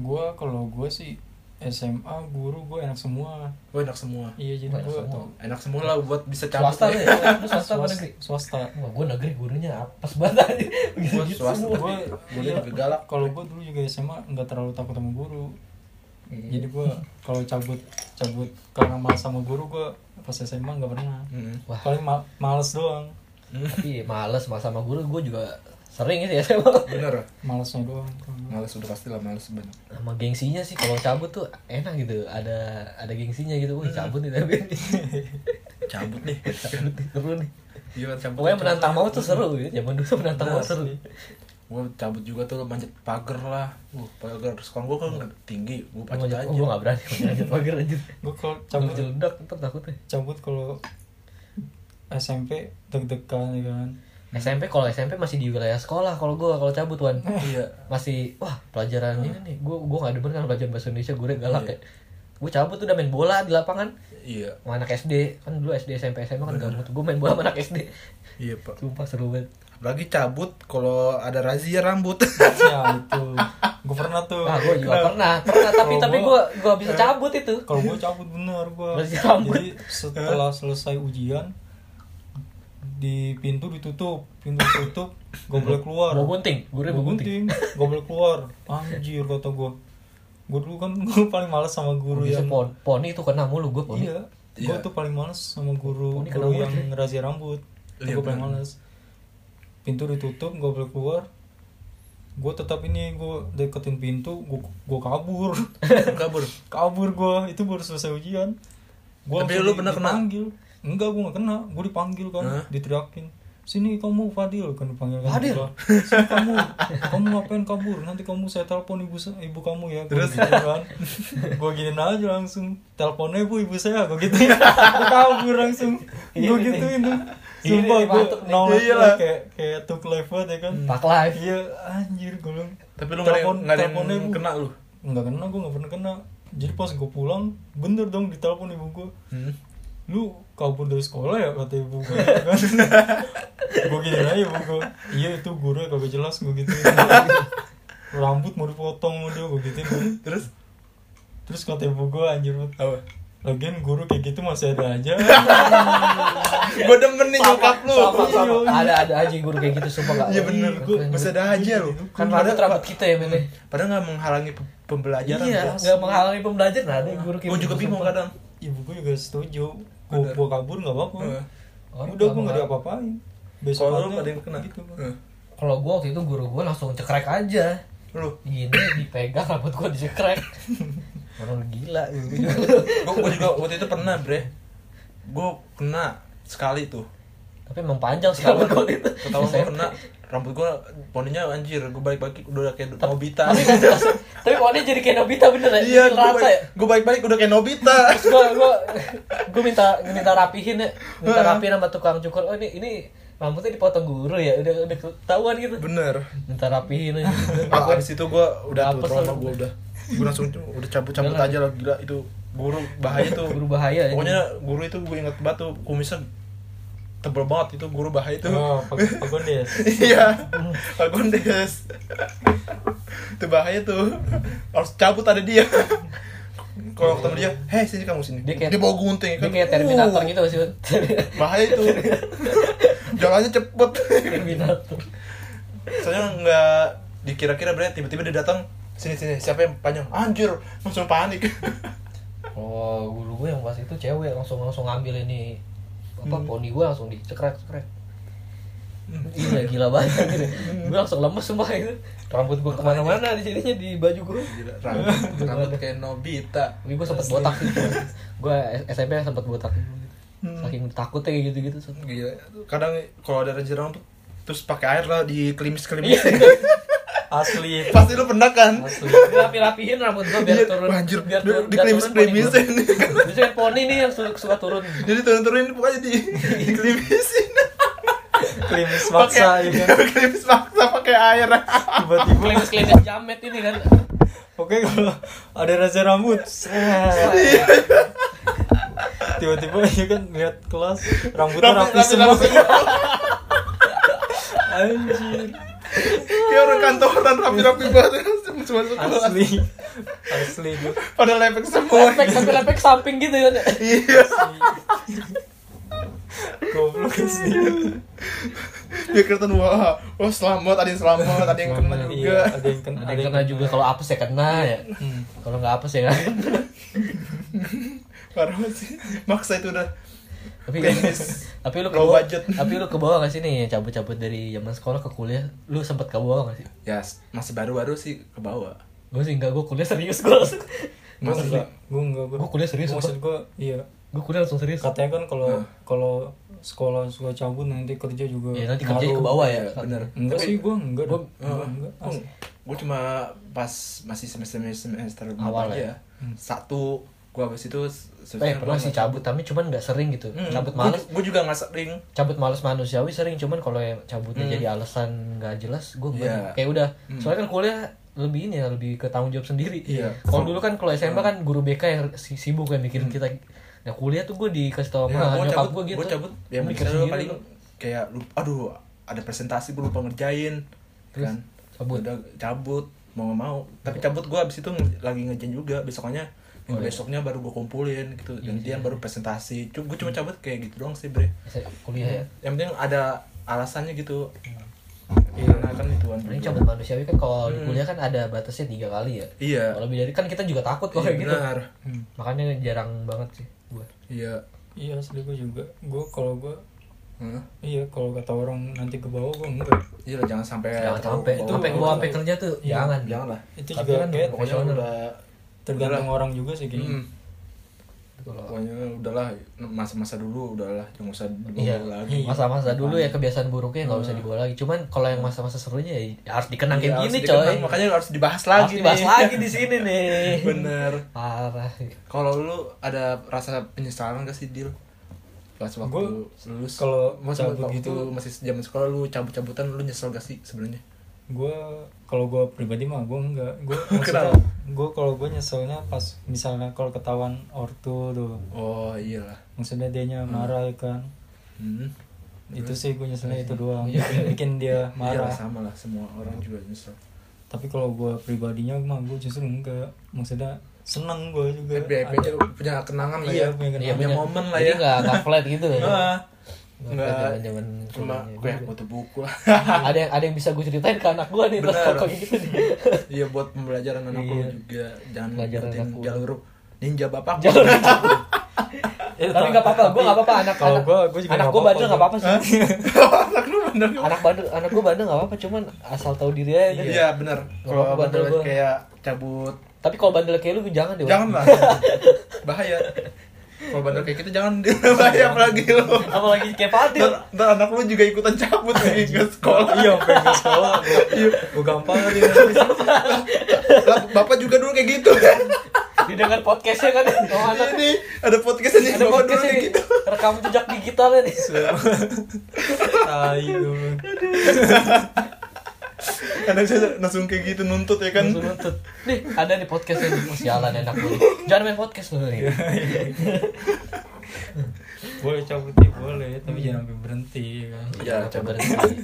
[SPEAKER 3] gue kalau gue sih SMA guru gue enak semua
[SPEAKER 2] Gua enak semua
[SPEAKER 3] iya jadi
[SPEAKER 1] Wah, enak
[SPEAKER 3] gue
[SPEAKER 1] semua.
[SPEAKER 2] enak semua lah buat bisa cabut
[SPEAKER 1] Swasta lu
[SPEAKER 2] ya.
[SPEAKER 1] ya? Lu swasta apa negeri?
[SPEAKER 3] swasta
[SPEAKER 1] Wah, gue negeri gurunya apes banget aja.
[SPEAKER 2] Gua
[SPEAKER 1] Gitu-gitu
[SPEAKER 2] swasta.
[SPEAKER 1] semua.
[SPEAKER 3] gue
[SPEAKER 2] Guru juga galak.
[SPEAKER 3] kalau gue dulu juga SMA nggak terlalu takut sama guru
[SPEAKER 1] Iya.
[SPEAKER 3] jadi gue kalau cabut cabut karena malas sama guru gue pas SMA nggak pernah
[SPEAKER 2] Mm-mm.
[SPEAKER 1] Wah.
[SPEAKER 3] paling ma- malas doang
[SPEAKER 1] Tapi males malah sama guru, gue juga sering sih ya sama.
[SPEAKER 2] bener
[SPEAKER 3] malasnya doang
[SPEAKER 2] males udah pasti lah males banget
[SPEAKER 1] sama gengsinya sih kalau cabut tuh enak gitu ada ada gengsinya gitu wih
[SPEAKER 2] Hmm.
[SPEAKER 1] cabut nih tapi
[SPEAKER 2] cabut nih
[SPEAKER 1] cabut nih, seru nih
[SPEAKER 2] iya kan, cabut
[SPEAKER 1] pokoknya
[SPEAKER 2] cabut.
[SPEAKER 1] menantang maut tuh seru gitu zaman dulu tuh menantang
[SPEAKER 3] Nah,
[SPEAKER 1] maut seru
[SPEAKER 3] iya.
[SPEAKER 2] gua cabut juga tuh manjat pagar lah uh pagar sekolah gua kan nggak tinggi gua
[SPEAKER 1] Gua
[SPEAKER 2] panjat
[SPEAKER 1] aja-
[SPEAKER 2] aja
[SPEAKER 1] oh, gue gak berani lanjut pagar lanjut
[SPEAKER 3] gue kalau
[SPEAKER 1] cabut
[SPEAKER 3] cabut
[SPEAKER 1] jeledak ntar takutnya
[SPEAKER 3] cabut kalau SMP deg-degan ya kan
[SPEAKER 1] SMP kalau SMP masih di wilayah sekolah kalau gue kalau cabut wan
[SPEAKER 3] Eh.
[SPEAKER 2] iya
[SPEAKER 1] masih wah pelajaran
[SPEAKER 3] Ah.
[SPEAKER 1] ini nih gue gue nggak demen kan pelajaran bahasa Indonesia gue galak
[SPEAKER 2] Iya.
[SPEAKER 1] ya gue cabut udah main bola di lapangan
[SPEAKER 2] iya
[SPEAKER 1] sama anak SD kan dulu SD SMP SMA kan gabut gue main bola sama anak SD
[SPEAKER 2] iya pak
[SPEAKER 1] sumpah seru banget
[SPEAKER 2] apalagi cabut kalau ada razia rambut
[SPEAKER 3] ya itu gue pernah tuh
[SPEAKER 1] Wah, gue Ah, juga pernah, pernah tapi
[SPEAKER 3] Oh, Kalau
[SPEAKER 1] tapi
[SPEAKER 3] gua- Eh,
[SPEAKER 1] gue gue bisa cabut itu.
[SPEAKER 3] kalau gue cabut bener gue
[SPEAKER 1] Masih cabut.
[SPEAKER 3] jadi setelah selesai ujian di pintu ditutup pintu ditutup gue boleh keluar
[SPEAKER 1] Mau gunting, gue
[SPEAKER 3] gue
[SPEAKER 1] mau gunting.
[SPEAKER 3] gunting gue boleh keluar anjir kata gue gue dulu kan gue paling males sama guru
[SPEAKER 1] Bisa
[SPEAKER 3] yang
[SPEAKER 1] pon, poni itu kena mulu gue poni.
[SPEAKER 3] iya gue
[SPEAKER 2] Iya.
[SPEAKER 3] tuh paling males sama guru
[SPEAKER 1] Poni kena
[SPEAKER 3] guru
[SPEAKER 1] mulu
[SPEAKER 3] yang
[SPEAKER 1] sih.
[SPEAKER 3] razia rambut
[SPEAKER 2] Iya,
[SPEAKER 3] gue paling
[SPEAKER 2] benar.
[SPEAKER 3] males pintu ditutup gue boleh keluar gue tetap ini gue deketin pintu gue gue kabur
[SPEAKER 2] kabur
[SPEAKER 3] kabur gue itu baru selesai ujian Gua
[SPEAKER 2] Tapi
[SPEAKER 3] langsung
[SPEAKER 2] lu
[SPEAKER 3] di-
[SPEAKER 2] pernah kena?
[SPEAKER 3] dipanggil enggak gue gak kena gue dipanggil kan
[SPEAKER 2] Hah?
[SPEAKER 3] diteriakin sini kamu Fadil kan dipanggil kan
[SPEAKER 1] Fadil?
[SPEAKER 3] gua. sini kamu kamu ngapain kabur nanti kamu saya telepon ibu sa- ibu kamu ya gua
[SPEAKER 2] Terus?
[SPEAKER 3] gitu kan gue gini aja langsung teleponnya bu ibu saya gue gitu kabur langsung gue
[SPEAKER 1] Ini.
[SPEAKER 3] gituin tuh
[SPEAKER 1] Ini
[SPEAKER 3] sumpah
[SPEAKER 1] nih,
[SPEAKER 3] gue
[SPEAKER 1] mantep nih.
[SPEAKER 3] nolak
[SPEAKER 2] Iyalah.
[SPEAKER 3] kayak kayak tuh live banget ya kan
[SPEAKER 1] Hmm. Pak live.
[SPEAKER 3] iya anjir gue bilang
[SPEAKER 2] tapi lu nggak ada yang- nggak ada
[SPEAKER 3] teleponnya,
[SPEAKER 2] yang
[SPEAKER 3] Bu."
[SPEAKER 2] kena lu
[SPEAKER 3] nggak kena gue nggak pernah kena jadi pas gue pulang bener dong ditelepon ibu gue
[SPEAKER 2] Hmm.
[SPEAKER 3] lu kabur dari sekolah ya kata ibu gue gue gini aja ibu gue iya itu guru kagak jelas gue gitu rambut mau dipotong mau dia gue gitu
[SPEAKER 2] terus
[SPEAKER 3] terus kata ibu gue anjir banget.
[SPEAKER 2] apa
[SPEAKER 3] lagian guru kayak gitu masih ada aja
[SPEAKER 2] gua demen nih nyokap lu
[SPEAKER 1] Sama, sama. Ada ada aja guru kayak gitu sumpah enggak.
[SPEAKER 2] iya bener gua masih ada aja lu
[SPEAKER 1] Kan rambut rambut kita ya, Meme.
[SPEAKER 2] padahal nggak menghalangi pe- pembelajaran
[SPEAKER 1] Iya,
[SPEAKER 2] gua.
[SPEAKER 1] enggak menghalangi pembelajaran ada guru kayak gitu,
[SPEAKER 2] gua juga bingung
[SPEAKER 1] sumpah.
[SPEAKER 2] kadang
[SPEAKER 3] ibu gue juga setuju gue
[SPEAKER 2] Bener.
[SPEAKER 3] gua kabur nggak apa-apa
[SPEAKER 2] Heeh.
[SPEAKER 1] Orang
[SPEAKER 3] udah gue
[SPEAKER 1] lama-
[SPEAKER 3] nggak ada apa-apain besok
[SPEAKER 2] kalau lu
[SPEAKER 3] aja,
[SPEAKER 2] ada yang kena Eh,
[SPEAKER 3] gitu Bang.
[SPEAKER 2] Heeh.
[SPEAKER 1] Kalau gue waktu itu guru gue langsung cekrek aja.
[SPEAKER 2] lu
[SPEAKER 1] Gini dipegang rambut gue dicekrek. Orang gila gitu.
[SPEAKER 2] gue juga waktu itu pernah bre gue kena sekali tuh
[SPEAKER 1] Tapi emang panjang sih
[SPEAKER 2] ketahuan
[SPEAKER 1] rambut gua itu.
[SPEAKER 2] ketahuan gue kena rambut gue poninya anjir gue balik balik udah kayak Nobita
[SPEAKER 1] Tapi tapi poni jadi kayak Nobita bener ya?
[SPEAKER 2] iya
[SPEAKER 1] Jadi
[SPEAKER 2] gue
[SPEAKER 1] rata ya?
[SPEAKER 2] balik gue balik balik udah kayak Nobita
[SPEAKER 1] terus gue gue gue minta minta rapihin ya minta rapihin sama tukang cukur oh ini ini rambutnya dipotong guru ya udah udah ketahuan gitu
[SPEAKER 2] bener
[SPEAKER 1] minta rapihin aja
[SPEAKER 2] Ah, abis itu gue udah tuh
[SPEAKER 1] Apa
[SPEAKER 2] trauma
[SPEAKER 1] sih?
[SPEAKER 2] gue udah gue langsung tuh udah cabut-cabut
[SPEAKER 1] Udah lah.
[SPEAKER 2] aja lah gila itu guru bahaya tuh
[SPEAKER 1] Guru bahaya ya.
[SPEAKER 2] pokoknya guru itu gue inget banget tuh kumisnya tebel banget itu guru bahaya itu
[SPEAKER 3] Oh, Pak Pak Gondes.
[SPEAKER 2] iya Pak Gondes itu bahaya tuh harus cabut ada dia kalau ketemu dia hei sini kamu sini
[SPEAKER 1] Dia
[SPEAKER 2] dia,
[SPEAKER 1] kayak-
[SPEAKER 2] bawa gunting
[SPEAKER 1] Dia kayak Terminator
[SPEAKER 2] Uh,
[SPEAKER 1] gitu sih. Bud.
[SPEAKER 2] bahaya itu jalannya cepet
[SPEAKER 1] Terminator.
[SPEAKER 2] soalnya nggak dikira-kira berarti tiba-tiba dia datang sini sini siapa yang panjang anjir langsung panik
[SPEAKER 1] Oh, guru gue yang pas itu cewek langsung langsung ngambil ini apa
[SPEAKER 2] Hmm.
[SPEAKER 1] poni gue langsung dicekrek cekrek. Gila gila banget gitu.
[SPEAKER 2] Hmm.
[SPEAKER 1] gue langsung lemes sumpah itu. Rambut gue kemana-mana di jadinya di baju gue.
[SPEAKER 2] Gila, rambut rambut kayak Nobita
[SPEAKER 1] Tapi gue sempet botak sih. gue SMP sempet botak.
[SPEAKER 2] Hmm.
[SPEAKER 1] Saking takutnya kayak gitu-gitu.
[SPEAKER 2] gila kadang kalau ada renjir rambut terus pakai air lah di klimis klimis
[SPEAKER 1] Iya.
[SPEAKER 3] Asli.
[SPEAKER 2] pasti lu pernah kan
[SPEAKER 3] Asli.
[SPEAKER 1] Gue rapi-rapihin rambut gue biar
[SPEAKER 2] Iya,
[SPEAKER 1] turun.
[SPEAKER 2] anjir,
[SPEAKER 1] biar
[SPEAKER 2] di-
[SPEAKER 1] turun.
[SPEAKER 2] di
[SPEAKER 1] biar
[SPEAKER 2] klimis-
[SPEAKER 1] turun poni
[SPEAKER 2] klimisin.
[SPEAKER 1] gua. Biasanya kan poni nih yang suka, suka turun.
[SPEAKER 2] jadi turun turunin pokoknya di di klimisin
[SPEAKER 3] Klimis maksa ya kan.
[SPEAKER 2] klimis maksa pakai air
[SPEAKER 3] Tiba-tiba.
[SPEAKER 1] Klimis-klimis jamet ini kan.
[SPEAKER 3] Oke kalau ada rasa rambut. set.
[SPEAKER 2] Iya,
[SPEAKER 3] Tiba-tiba ya kan lihat kelas rambutnya
[SPEAKER 2] Rambut-
[SPEAKER 3] rapi semua.
[SPEAKER 2] rambut-
[SPEAKER 3] Anjir.
[SPEAKER 2] kayak orang kantoran rapi rapi banget masuk masuk kelas
[SPEAKER 3] Iya. Asli. Asli gue.
[SPEAKER 2] pada lepek semua
[SPEAKER 1] Lepek, tapi lepek samping gitu ya.
[SPEAKER 2] iya
[SPEAKER 3] Goblok asli.
[SPEAKER 2] dia kelihatan wah oh selamat ada yang selamat ada yang kena
[SPEAKER 3] Iya,
[SPEAKER 2] juga
[SPEAKER 3] ada yang kena,
[SPEAKER 1] Ada yang kena juga kalau apes ya kena ya.
[SPEAKER 3] Hmm.
[SPEAKER 1] Kalau nggak apes ya kan.
[SPEAKER 2] parah banget sih maksa itu udah
[SPEAKER 1] tapi
[SPEAKER 2] Klimis.
[SPEAKER 1] tapi lu ke
[SPEAKER 2] Low
[SPEAKER 1] bawah,
[SPEAKER 2] budget.
[SPEAKER 1] tapi lu ke bawah gak sih nih cabut-cabut dari zaman sekolah ke kuliah lu sempet ke bawah gak sih
[SPEAKER 2] ya masih baru baru sih ke bawah
[SPEAKER 1] gue sih enggak gue kuliah serius gue langsung gue
[SPEAKER 2] Masa
[SPEAKER 1] enggak
[SPEAKER 3] Gue enggak gue.
[SPEAKER 1] Gua kuliah serius,
[SPEAKER 3] Maksud gue iya.
[SPEAKER 1] gue kuliah langsung serius
[SPEAKER 3] Katanya kan kalau
[SPEAKER 2] Nah.
[SPEAKER 3] kalau sekolah suka cabut nanti kerja juga.
[SPEAKER 1] ya nanti kerja
[SPEAKER 3] ngaruh.
[SPEAKER 1] ke bawah Oh. ya
[SPEAKER 2] Iya, bener.
[SPEAKER 3] Enggak
[SPEAKER 2] Tapi-
[SPEAKER 3] sih gue enggak. Gue
[SPEAKER 2] Heeh.
[SPEAKER 3] enggak. asli.
[SPEAKER 2] gue cuma pas masih semester semester
[SPEAKER 1] Awal
[SPEAKER 2] awal
[SPEAKER 1] ya?
[SPEAKER 2] aja
[SPEAKER 3] Hmm.
[SPEAKER 2] satu gue habis itu ya? se-
[SPEAKER 1] eh
[SPEAKER 2] sebenarnya
[SPEAKER 1] pernah
[SPEAKER 2] gua
[SPEAKER 1] sih
[SPEAKER 2] nggak-
[SPEAKER 1] cabut tapi cuman nggak sering gitu
[SPEAKER 2] Hmm,
[SPEAKER 1] cabut
[SPEAKER 2] gua-
[SPEAKER 1] males
[SPEAKER 2] gua juga nggak sering
[SPEAKER 1] cabut males manusiawi sering cuman kalau yang cabutnya
[SPEAKER 2] Hmm.
[SPEAKER 1] jadi alasan nggak jelas gue
[SPEAKER 2] Iya.
[SPEAKER 1] kayak udah
[SPEAKER 2] Hmm.
[SPEAKER 1] soalnya kan kuliah lebih ini ya lebih ke tanggung jawab sendiri
[SPEAKER 2] Iya. Hmm.
[SPEAKER 1] kalau dulu kan kalau SMA kan guru BK yang si- sibuk yang mikirin kita nah kuliah tuh gue dikasih tau sama nyokap
[SPEAKER 2] gue Hmm. Iya, cabut
[SPEAKER 1] gue gitu
[SPEAKER 2] gue cabut ya
[SPEAKER 1] mikir
[SPEAKER 2] mikirnya
[SPEAKER 1] sendiri
[SPEAKER 2] paling
[SPEAKER 1] gua.
[SPEAKER 2] kayak lu- aduh ada presentasi gue lupa ngerjain
[SPEAKER 1] Terus,
[SPEAKER 2] kan
[SPEAKER 1] cabut.
[SPEAKER 2] udah cabut mau nggak mau tapi cabut gue abis itu nge- lagi ngejain juga besoknya
[SPEAKER 1] Oh,
[SPEAKER 2] minggu
[SPEAKER 1] iya.
[SPEAKER 2] besoknya baru gue kumpulin gitu gantian baru presentasi cuma gue cuma cabut kayak gitu doang sih bre
[SPEAKER 1] Saya kuliah ya
[SPEAKER 2] yang penting ada alasannya gitu karena kan itu kan
[SPEAKER 1] Paling Iya. cabut manusiawi kan kalau di
[SPEAKER 2] Hmm.
[SPEAKER 1] kuliah kan ada batasnya tiga kali ya.
[SPEAKER 2] iya
[SPEAKER 1] Kalau lebih dari kan kita juga takut kalau
[SPEAKER 2] iya
[SPEAKER 1] kayak gitu.
[SPEAKER 2] benar
[SPEAKER 3] Hmm.
[SPEAKER 1] Makanya jarang banget sih gua.
[SPEAKER 2] iya
[SPEAKER 3] Iya asli gue juga. Gue kalau gue
[SPEAKER 2] Hah?
[SPEAKER 3] iya kalau kata orang nanti ke bawah gue enggak.
[SPEAKER 2] iya lah, jangan sampai
[SPEAKER 1] jangan
[SPEAKER 2] terlalu
[SPEAKER 1] sampai itu
[SPEAKER 2] bawah.
[SPEAKER 1] sampai gua sampai kerja tuh
[SPEAKER 3] Iya,
[SPEAKER 1] jangan.
[SPEAKER 2] jangan lah
[SPEAKER 3] Itu
[SPEAKER 1] Tapi
[SPEAKER 3] juga
[SPEAKER 1] kan
[SPEAKER 3] kayak
[SPEAKER 2] pokoknya
[SPEAKER 1] Profesional.
[SPEAKER 2] udah
[SPEAKER 3] tergantung
[SPEAKER 2] udahlah.
[SPEAKER 3] orang juga sih kayaknya.
[SPEAKER 2] Mm.
[SPEAKER 1] Kalau
[SPEAKER 2] pokoknya udahlah masa-masa dulu udahlah jangan usah dibawa
[SPEAKER 1] Iya,
[SPEAKER 2] lagi
[SPEAKER 1] masa-masa dulu ya kebiasaan buruknya nggak usah dibawa lagi. Cuman kalau yang masa-masa serunya ya harus dikenang
[SPEAKER 2] Iya,
[SPEAKER 1] kayak
[SPEAKER 2] harus
[SPEAKER 1] gini,
[SPEAKER 2] dikenang,
[SPEAKER 1] coy.
[SPEAKER 2] makanya harus dibahas
[SPEAKER 1] Harus
[SPEAKER 2] lagi
[SPEAKER 1] dibahas
[SPEAKER 2] nih.
[SPEAKER 1] lagi di sini nih.
[SPEAKER 2] bener
[SPEAKER 1] Parah.
[SPEAKER 2] kalau lu ada rasa penyesalan gak sih Dil? pas waktu
[SPEAKER 3] Gua
[SPEAKER 2] lulus
[SPEAKER 3] kalau
[SPEAKER 2] masa
[SPEAKER 3] cabut
[SPEAKER 2] waktu
[SPEAKER 3] gitu-
[SPEAKER 2] masih zaman sekolah lu cabut-cabutan lu nyesel gak sih sebenarnya
[SPEAKER 3] Gue kalau gue pribadi mah gue enggak. Gue
[SPEAKER 2] Kenapa?
[SPEAKER 3] maksudnya gue kalau gue nyeselnya pas misalnya kalau ketahuan ortu tuh.
[SPEAKER 2] oh iyalah
[SPEAKER 3] Maksudnya dianya marah ya kan.
[SPEAKER 2] hmm.
[SPEAKER 3] Itu sih gue nyeselnya
[SPEAKER 2] Iya.
[SPEAKER 3] itu doang. Bikin dia
[SPEAKER 2] Iyalah,
[SPEAKER 3] marah.
[SPEAKER 2] sama lah semua orang juga nyesel
[SPEAKER 3] tapi kalau gue pribadinya mah gue justru enggak maksudnya seneng gue juga
[SPEAKER 2] Happy happy aja
[SPEAKER 3] Ada-
[SPEAKER 2] Eh, punya kenangan lah
[SPEAKER 3] iya
[SPEAKER 2] ya
[SPEAKER 3] punya kenangan.
[SPEAKER 2] Punya
[SPEAKER 1] bener.
[SPEAKER 2] momen lah
[SPEAKER 1] Jadi
[SPEAKER 2] ya.
[SPEAKER 1] nggak nggak flat gitu ya.
[SPEAKER 2] Ah,
[SPEAKER 1] Nggak
[SPEAKER 2] nggak.
[SPEAKER 1] flat zaman-zaman
[SPEAKER 2] cuma
[SPEAKER 1] kuliahnya.
[SPEAKER 2] kayak butuh buku lah
[SPEAKER 1] ada yang ada yang bisa gue ceritain ke anak gue nih pas
[SPEAKER 2] Bener.
[SPEAKER 1] kayak gitu nih.
[SPEAKER 2] iya buat pembelajaran anak lu
[SPEAKER 1] Iya.
[SPEAKER 2] juga jangan
[SPEAKER 1] Pelajaran
[SPEAKER 2] ngikutin
[SPEAKER 1] anak lu.
[SPEAKER 2] jalur ninja bapak
[SPEAKER 1] Jalur
[SPEAKER 3] Eh,
[SPEAKER 1] tapi nggak apa-apa gue nggak apa-apa anak
[SPEAKER 3] kalau
[SPEAKER 1] anak-
[SPEAKER 3] gue gue juga
[SPEAKER 1] anak gue bandel nggak apa-apa sih
[SPEAKER 2] anak lu bener
[SPEAKER 1] anak bandel anak gue bandel nggak apa-apa cuman asal tahu diri aja gitu.
[SPEAKER 2] iya bener kalau
[SPEAKER 1] Bapak bandel
[SPEAKER 2] bandel
[SPEAKER 1] gua. Iya.
[SPEAKER 2] kayak cabut
[SPEAKER 1] tapi kalau bandel kayak lu jangan deh
[SPEAKER 2] jangan lah bahaya kalau bandel kayak gitu jangan bahaya apalagi lu
[SPEAKER 1] apalagi kayak Fadil
[SPEAKER 2] ntar, ntar anak lu juga ikutan cabut nih ke sekolah Iya.
[SPEAKER 3] iya sampai ke sekolah gue gue gampang kali ya.
[SPEAKER 2] Lah, bapak juga dulu kayak gitu
[SPEAKER 1] didengar podcastnya kan oh, anak
[SPEAKER 2] ini ada podcast ini
[SPEAKER 1] ada
[SPEAKER 2] bapak dulu
[SPEAKER 1] podcastnya
[SPEAKER 2] kayak
[SPEAKER 1] nih
[SPEAKER 2] gitu Iya
[SPEAKER 1] rekam jejak digitalnya nih
[SPEAKER 3] tai gue
[SPEAKER 2] anak saya langsung kayak gitu nuntut ya kan
[SPEAKER 3] Langsung nuntut.
[SPEAKER 1] Nih, ada di podcast yang oh, sialan enak lu. Jangan main podcast lu
[SPEAKER 2] Iya.
[SPEAKER 1] nih.
[SPEAKER 3] boleh cabut ya boleh tapi jangan sampai berhenti ya kan
[SPEAKER 2] ya
[SPEAKER 1] Jangan
[SPEAKER 2] cabut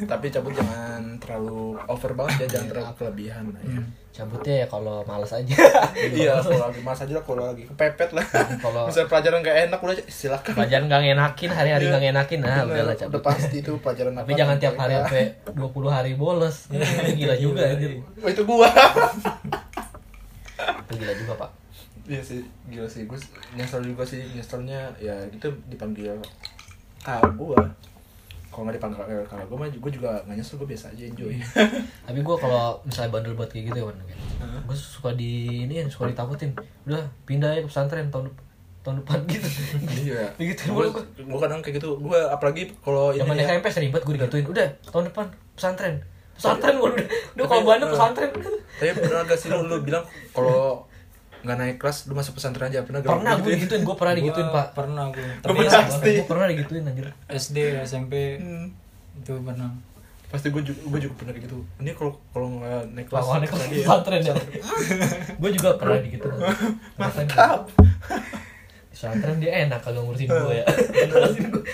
[SPEAKER 2] tapi cabut jangan terlalu over banget ya jangan terlalu kelebihan lah ya
[SPEAKER 1] Cabutnya ya kalau malas aja.
[SPEAKER 2] iya Hmm, kalau lagi mas aja lah kalau lagi kepepet lah
[SPEAKER 1] Kalau-
[SPEAKER 2] misalnya pelajaran gak enak udah silakan
[SPEAKER 1] Pelajaran gak ngenakin, hari-hari gak ngenakin. Nah,
[SPEAKER 2] Iya. Bener,
[SPEAKER 1] udahlah
[SPEAKER 2] udah
[SPEAKER 1] cabut.
[SPEAKER 2] pasti itu pelajaran
[SPEAKER 1] Tapi
[SPEAKER 2] apa,
[SPEAKER 1] jangan
[SPEAKER 2] nanti
[SPEAKER 1] tiap hari
[SPEAKER 2] kita-
[SPEAKER 1] sampai 20 hari bolos.
[SPEAKER 2] Iya.
[SPEAKER 1] Gila juga anjir.
[SPEAKER 2] Oh, itu gua
[SPEAKER 1] Itu Gila juga, Pak.
[SPEAKER 2] iya sih gila sih gua nyesel juga sih nyeselnya ya gitu dipanggil kakak gua kalau nggak dipanggil kakak gua mah gua juga nggak nyesel gua biasa aja enjoy
[SPEAKER 1] Tapi gue kalau misalnya bandel buat kayak gitu ya, Wan, kayak, gue suka di ini yang suka ditakutin. Udah pindah aja ke pesantren tahun dep- tahun depan gitu.
[SPEAKER 2] iya
[SPEAKER 1] Begitu
[SPEAKER 2] gua,
[SPEAKER 1] mulu gua.
[SPEAKER 2] gua kadang kayak gitu gua apalagi kalau ini
[SPEAKER 1] Zaman
[SPEAKER 2] ya,
[SPEAKER 1] SMP sering banget gue digituin. Udah tahun depan pesantren. Pesantren gue udah. Udah kalau bandel
[SPEAKER 2] eh,
[SPEAKER 1] pesantren.
[SPEAKER 2] Tapi pernah gak sih lu, lu bilang kalau nggak naik kelas lu masuk pesantren aja pernah gak?
[SPEAKER 1] Pernah gue
[SPEAKER 2] gitu
[SPEAKER 1] digituin, gue pernah digituin,
[SPEAKER 3] Gua
[SPEAKER 1] Pak.
[SPEAKER 3] pernah gue
[SPEAKER 2] Gua
[SPEAKER 3] tapi
[SPEAKER 2] pasti.
[SPEAKER 1] Gue pernah digituin anjir.
[SPEAKER 3] SD SMP itu pernah
[SPEAKER 2] Hmm. Pasti gue juga, gua juga pernah kayak gitu. Ini kalau kalau nggak naik kelas
[SPEAKER 1] Lawannya ke
[SPEAKER 2] pesantren aja ya.
[SPEAKER 1] pesantren ya. Gue juga pernah digituin.
[SPEAKER 2] Mantap.
[SPEAKER 1] Pesantren dia enak kalau ngurusin gue ya. Ngurusin gue.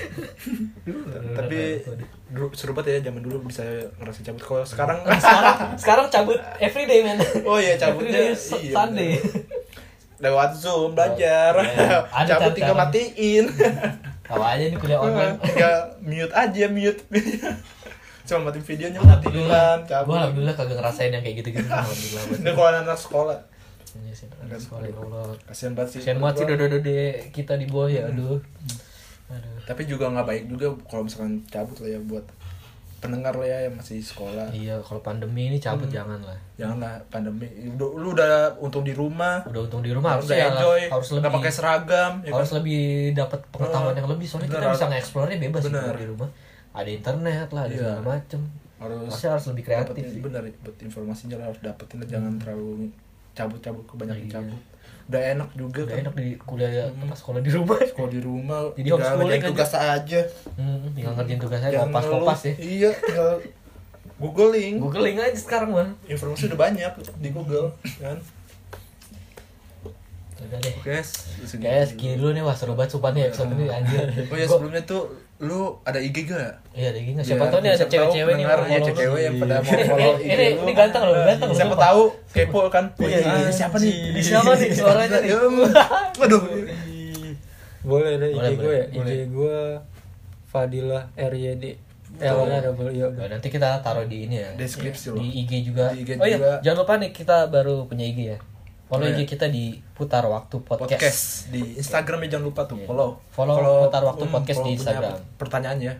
[SPEAKER 2] Tapi dulu seru banget ya zaman dulu bisa ngerasain cabut. Kalau sekarang
[SPEAKER 1] sekarang sekarang cabut everyday men.
[SPEAKER 2] Oh iya, cabutnya,
[SPEAKER 1] Everyday is
[SPEAKER 2] iya,
[SPEAKER 1] Sunday.
[SPEAKER 2] lewat Zoom belajar,
[SPEAKER 1] Iya. Ada
[SPEAKER 2] cabut tinggal
[SPEAKER 1] cara-cara.
[SPEAKER 2] matiin.
[SPEAKER 1] Tahu aja nih kuliah online.
[SPEAKER 2] tinggal mute aja mute. Cuma matiin videonya mati tiduran,
[SPEAKER 1] Gue
[SPEAKER 2] cabut.
[SPEAKER 1] alhamdulillah kagak ngerasain yang kayak gitu-gitu. Alhamdulillah.
[SPEAKER 2] Ini
[SPEAKER 1] banget.
[SPEAKER 2] kalau anak sekolah
[SPEAKER 1] Ini sih, anak sekolah ya Allah.
[SPEAKER 2] kasihan banget sih.
[SPEAKER 1] Kasian banget sih dode-dode kita di bawah
[SPEAKER 2] Hmm.
[SPEAKER 1] ya, aduh. Aduh.
[SPEAKER 2] tapi juga nggak baik juga kalau misalkan cabut lah ya buat pendengar lah ya yang masih sekolah
[SPEAKER 1] Iya, kalau pandemi ini cabut
[SPEAKER 2] Hmm.
[SPEAKER 1] jangan lah.
[SPEAKER 2] janganlah pandemi lu, lu udah untung di rumah
[SPEAKER 1] Udah untung di rumah harus
[SPEAKER 2] udah
[SPEAKER 1] ya,
[SPEAKER 2] enjoy
[SPEAKER 1] harus lebih
[SPEAKER 2] nggak pakai seragam ya
[SPEAKER 1] harus
[SPEAKER 2] kan?
[SPEAKER 1] lebih dapat pengetahuan yang lebih soalnya
[SPEAKER 2] Bener,
[SPEAKER 1] kita bisa
[SPEAKER 2] harus-
[SPEAKER 1] ngeksplornya bebas gitu
[SPEAKER 2] bener.
[SPEAKER 1] di rumah. Ada internet lah, ada
[SPEAKER 2] Iya.
[SPEAKER 1] segala macem.
[SPEAKER 2] harus
[SPEAKER 1] Harusnya harus lebih kreatif.
[SPEAKER 2] dapetin-
[SPEAKER 1] sih. Hmm.
[SPEAKER 2] bener buat informasinya lah harus dapetin lah jangan terlalu cabut-cabut kebanyakan cabut udah enak juga
[SPEAKER 1] Iya. Udah
[SPEAKER 2] kan
[SPEAKER 1] enak di kuliah apa sekolah di rumah.
[SPEAKER 2] kalau di rumah
[SPEAKER 1] Jadi
[SPEAKER 2] tinggal
[SPEAKER 1] homeschooling
[SPEAKER 2] ngerjain
[SPEAKER 1] aja.
[SPEAKER 2] tugas aja
[SPEAKER 1] Hmm, tinggal ngerjain tugasnya
[SPEAKER 2] Jangan
[SPEAKER 1] kopas-kopas
[SPEAKER 2] ngeluh.
[SPEAKER 1] ya.
[SPEAKER 2] iya tinggal googling
[SPEAKER 1] Googling aja sekarang, Man.
[SPEAKER 2] informasi udah banyak di google kan
[SPEAKER 1] Udah deh.
[SPEAKER 2] oke
[SPEAKER 1] Kayaknya segini dulu nih, wah seru banget sumpahnya episode ini anjir.
[SPEAKER 2] Oh ya
[SPEAKER 1] Gua-
[SPEAKER 2] sebelumnya tuh lu ada IG gak?
[SPEAKER 1] Iya, ada gini. Siapa tahu nih ada cewek-cewek nih
[SPEAKER 2] yang
[SPEAKER 1] mau
[SPEAKER 2] ya,
[SPEAKER 1] follow lu.
[SPEAKER 2] cewek yang pada mau
[SPEAKER 1] Ini-
[SPEAKER 2] follow
[SPEAKER 1] ini-
[SPEAKER 2] IG
[SPEAKER 1] ini-
[SPEAKER 2] lu.
[SPEAKER 1] ini ganteng loh, ganteng loh,
[SPEAKER 2] Siapa
[SPEAKER 1] sumpah.
[SPEAKER 2] tahu kepo kan.
[SPEAKER 1] Iya,
[SPEAKER 2] Wah,
[SPEAKER 1] iya.
[SPEAKER 2] ini siapa nih? Iya.
[SPEAKER 1] Ini siapa nih suaranya nih?
[SPEAKER 2] Waduh.
[SPEAKER 3] boleh deh
[SPEAKER 1] Boleh,
[SPEAKER 3] IG gue
[SPEAKER 1] boleh,
[SPEAKER 3] ya IG gue Fadilah RYD L nya double ya
[SPEAKER 1] Nah, nanti kita taruh di ini ya. Di
[SPEAKER 2] Deskripsi loh.
[SPEAKER 1] IG juga.
[SPEAKER 2] Di IG
[SPEAKER 1] oh iya,
[SPEAKER 2] juga.
[SPEAKER 1] jangan lupa nih kita baru punya IG ya. Follow
[SPEAKER 2] Oh iya.
[SPEAKER 1] IG kita di Putar Waktu Podcast.
[SPEAKER 2] Podcast di Instagram ya jangan lupa tuh
[SPEAKER 1] Iya.
[SPEAKER 2] follow.
[SPEAKER 1] Follow
[SPEAKER 2] Kalau-
[SPEAKER 1] Putar Waktu
[SPEAKER 2] hmm,
[SPEAKER 1] Podcast
[SPEAKER 2] kalau
[SPEAKER 1] di
[SPEAKER 2] punya
[SPEAKER 1] Instagram.
[SPEAKER 2] Pertanyaan ya.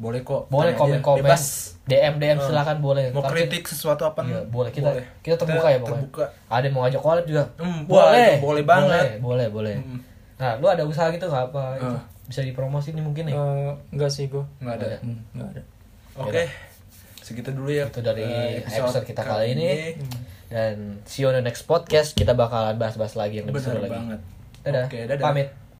[SPEAKER 2] Boleh kok.
[SPEAKER 1] Boleh
[SPEAKER 2] tanya aja.
[SPEAKER 1] komen-komen,
[SPEAKER 2] Nah, iya. Bebas.
[SPEAKER 1] DM DM
[SPEAKER 2] Hmm.
[SPEAKER 1] silakan boleh.
[SPEAKER 2] Mau
[SPEAKER 1] Ntar
[SPEAKER 2] kritik sesuatu apa?
[SPEAKER 1] Iya, boleh. Kita- kita terbuka ya, pokoknya.
[SPEAKER 2] Terbuka.
[SPEAKER 1] kita- Ada yang mau ngajak collab juga.
[SPEAKER 2] Hmm, wah, itu boleh banget.
[SPEAKER 1] Boleh, boleh.
[SPEAKER 2] Hmm.
[SPEAKER 1] Nah, lu ada usaha gitu nggak apa? itu?
[SPEAKER 2] Hmm.
[SPEAKER 1] Bisa dipromosin nih mungkin nih.
[SPEAKER 2] Eh,
[SPEAKER 3] Eh, enggak sih gue
[SPEAKER 2] Enggak ada.
[SPEAKER 1] Nggak ada.
[SPEAKER 3] Hmm, enggak ada
[SPEAKER 2] Oke. Segitu dulu
[SPEAKER 1] Iya.
[SPEAKER 2] ya.
[SPEAKER 1] Itu Gitu dari
[SPEAKER 2] eh,
[SPEAKER 1] episode kita kali ini. Dan see you on the next podcast. Kita bakalan bahas-bahas lagi yang lebih
[SPEAKER 2] Bener
[SPEAKER 1] seru lagi.
[SPEAKER 2] banget.
[SPEAKER 1] Dadah.
[SPEAKER 2] Oke, dadah.
[SPEAKER 1] Pamit.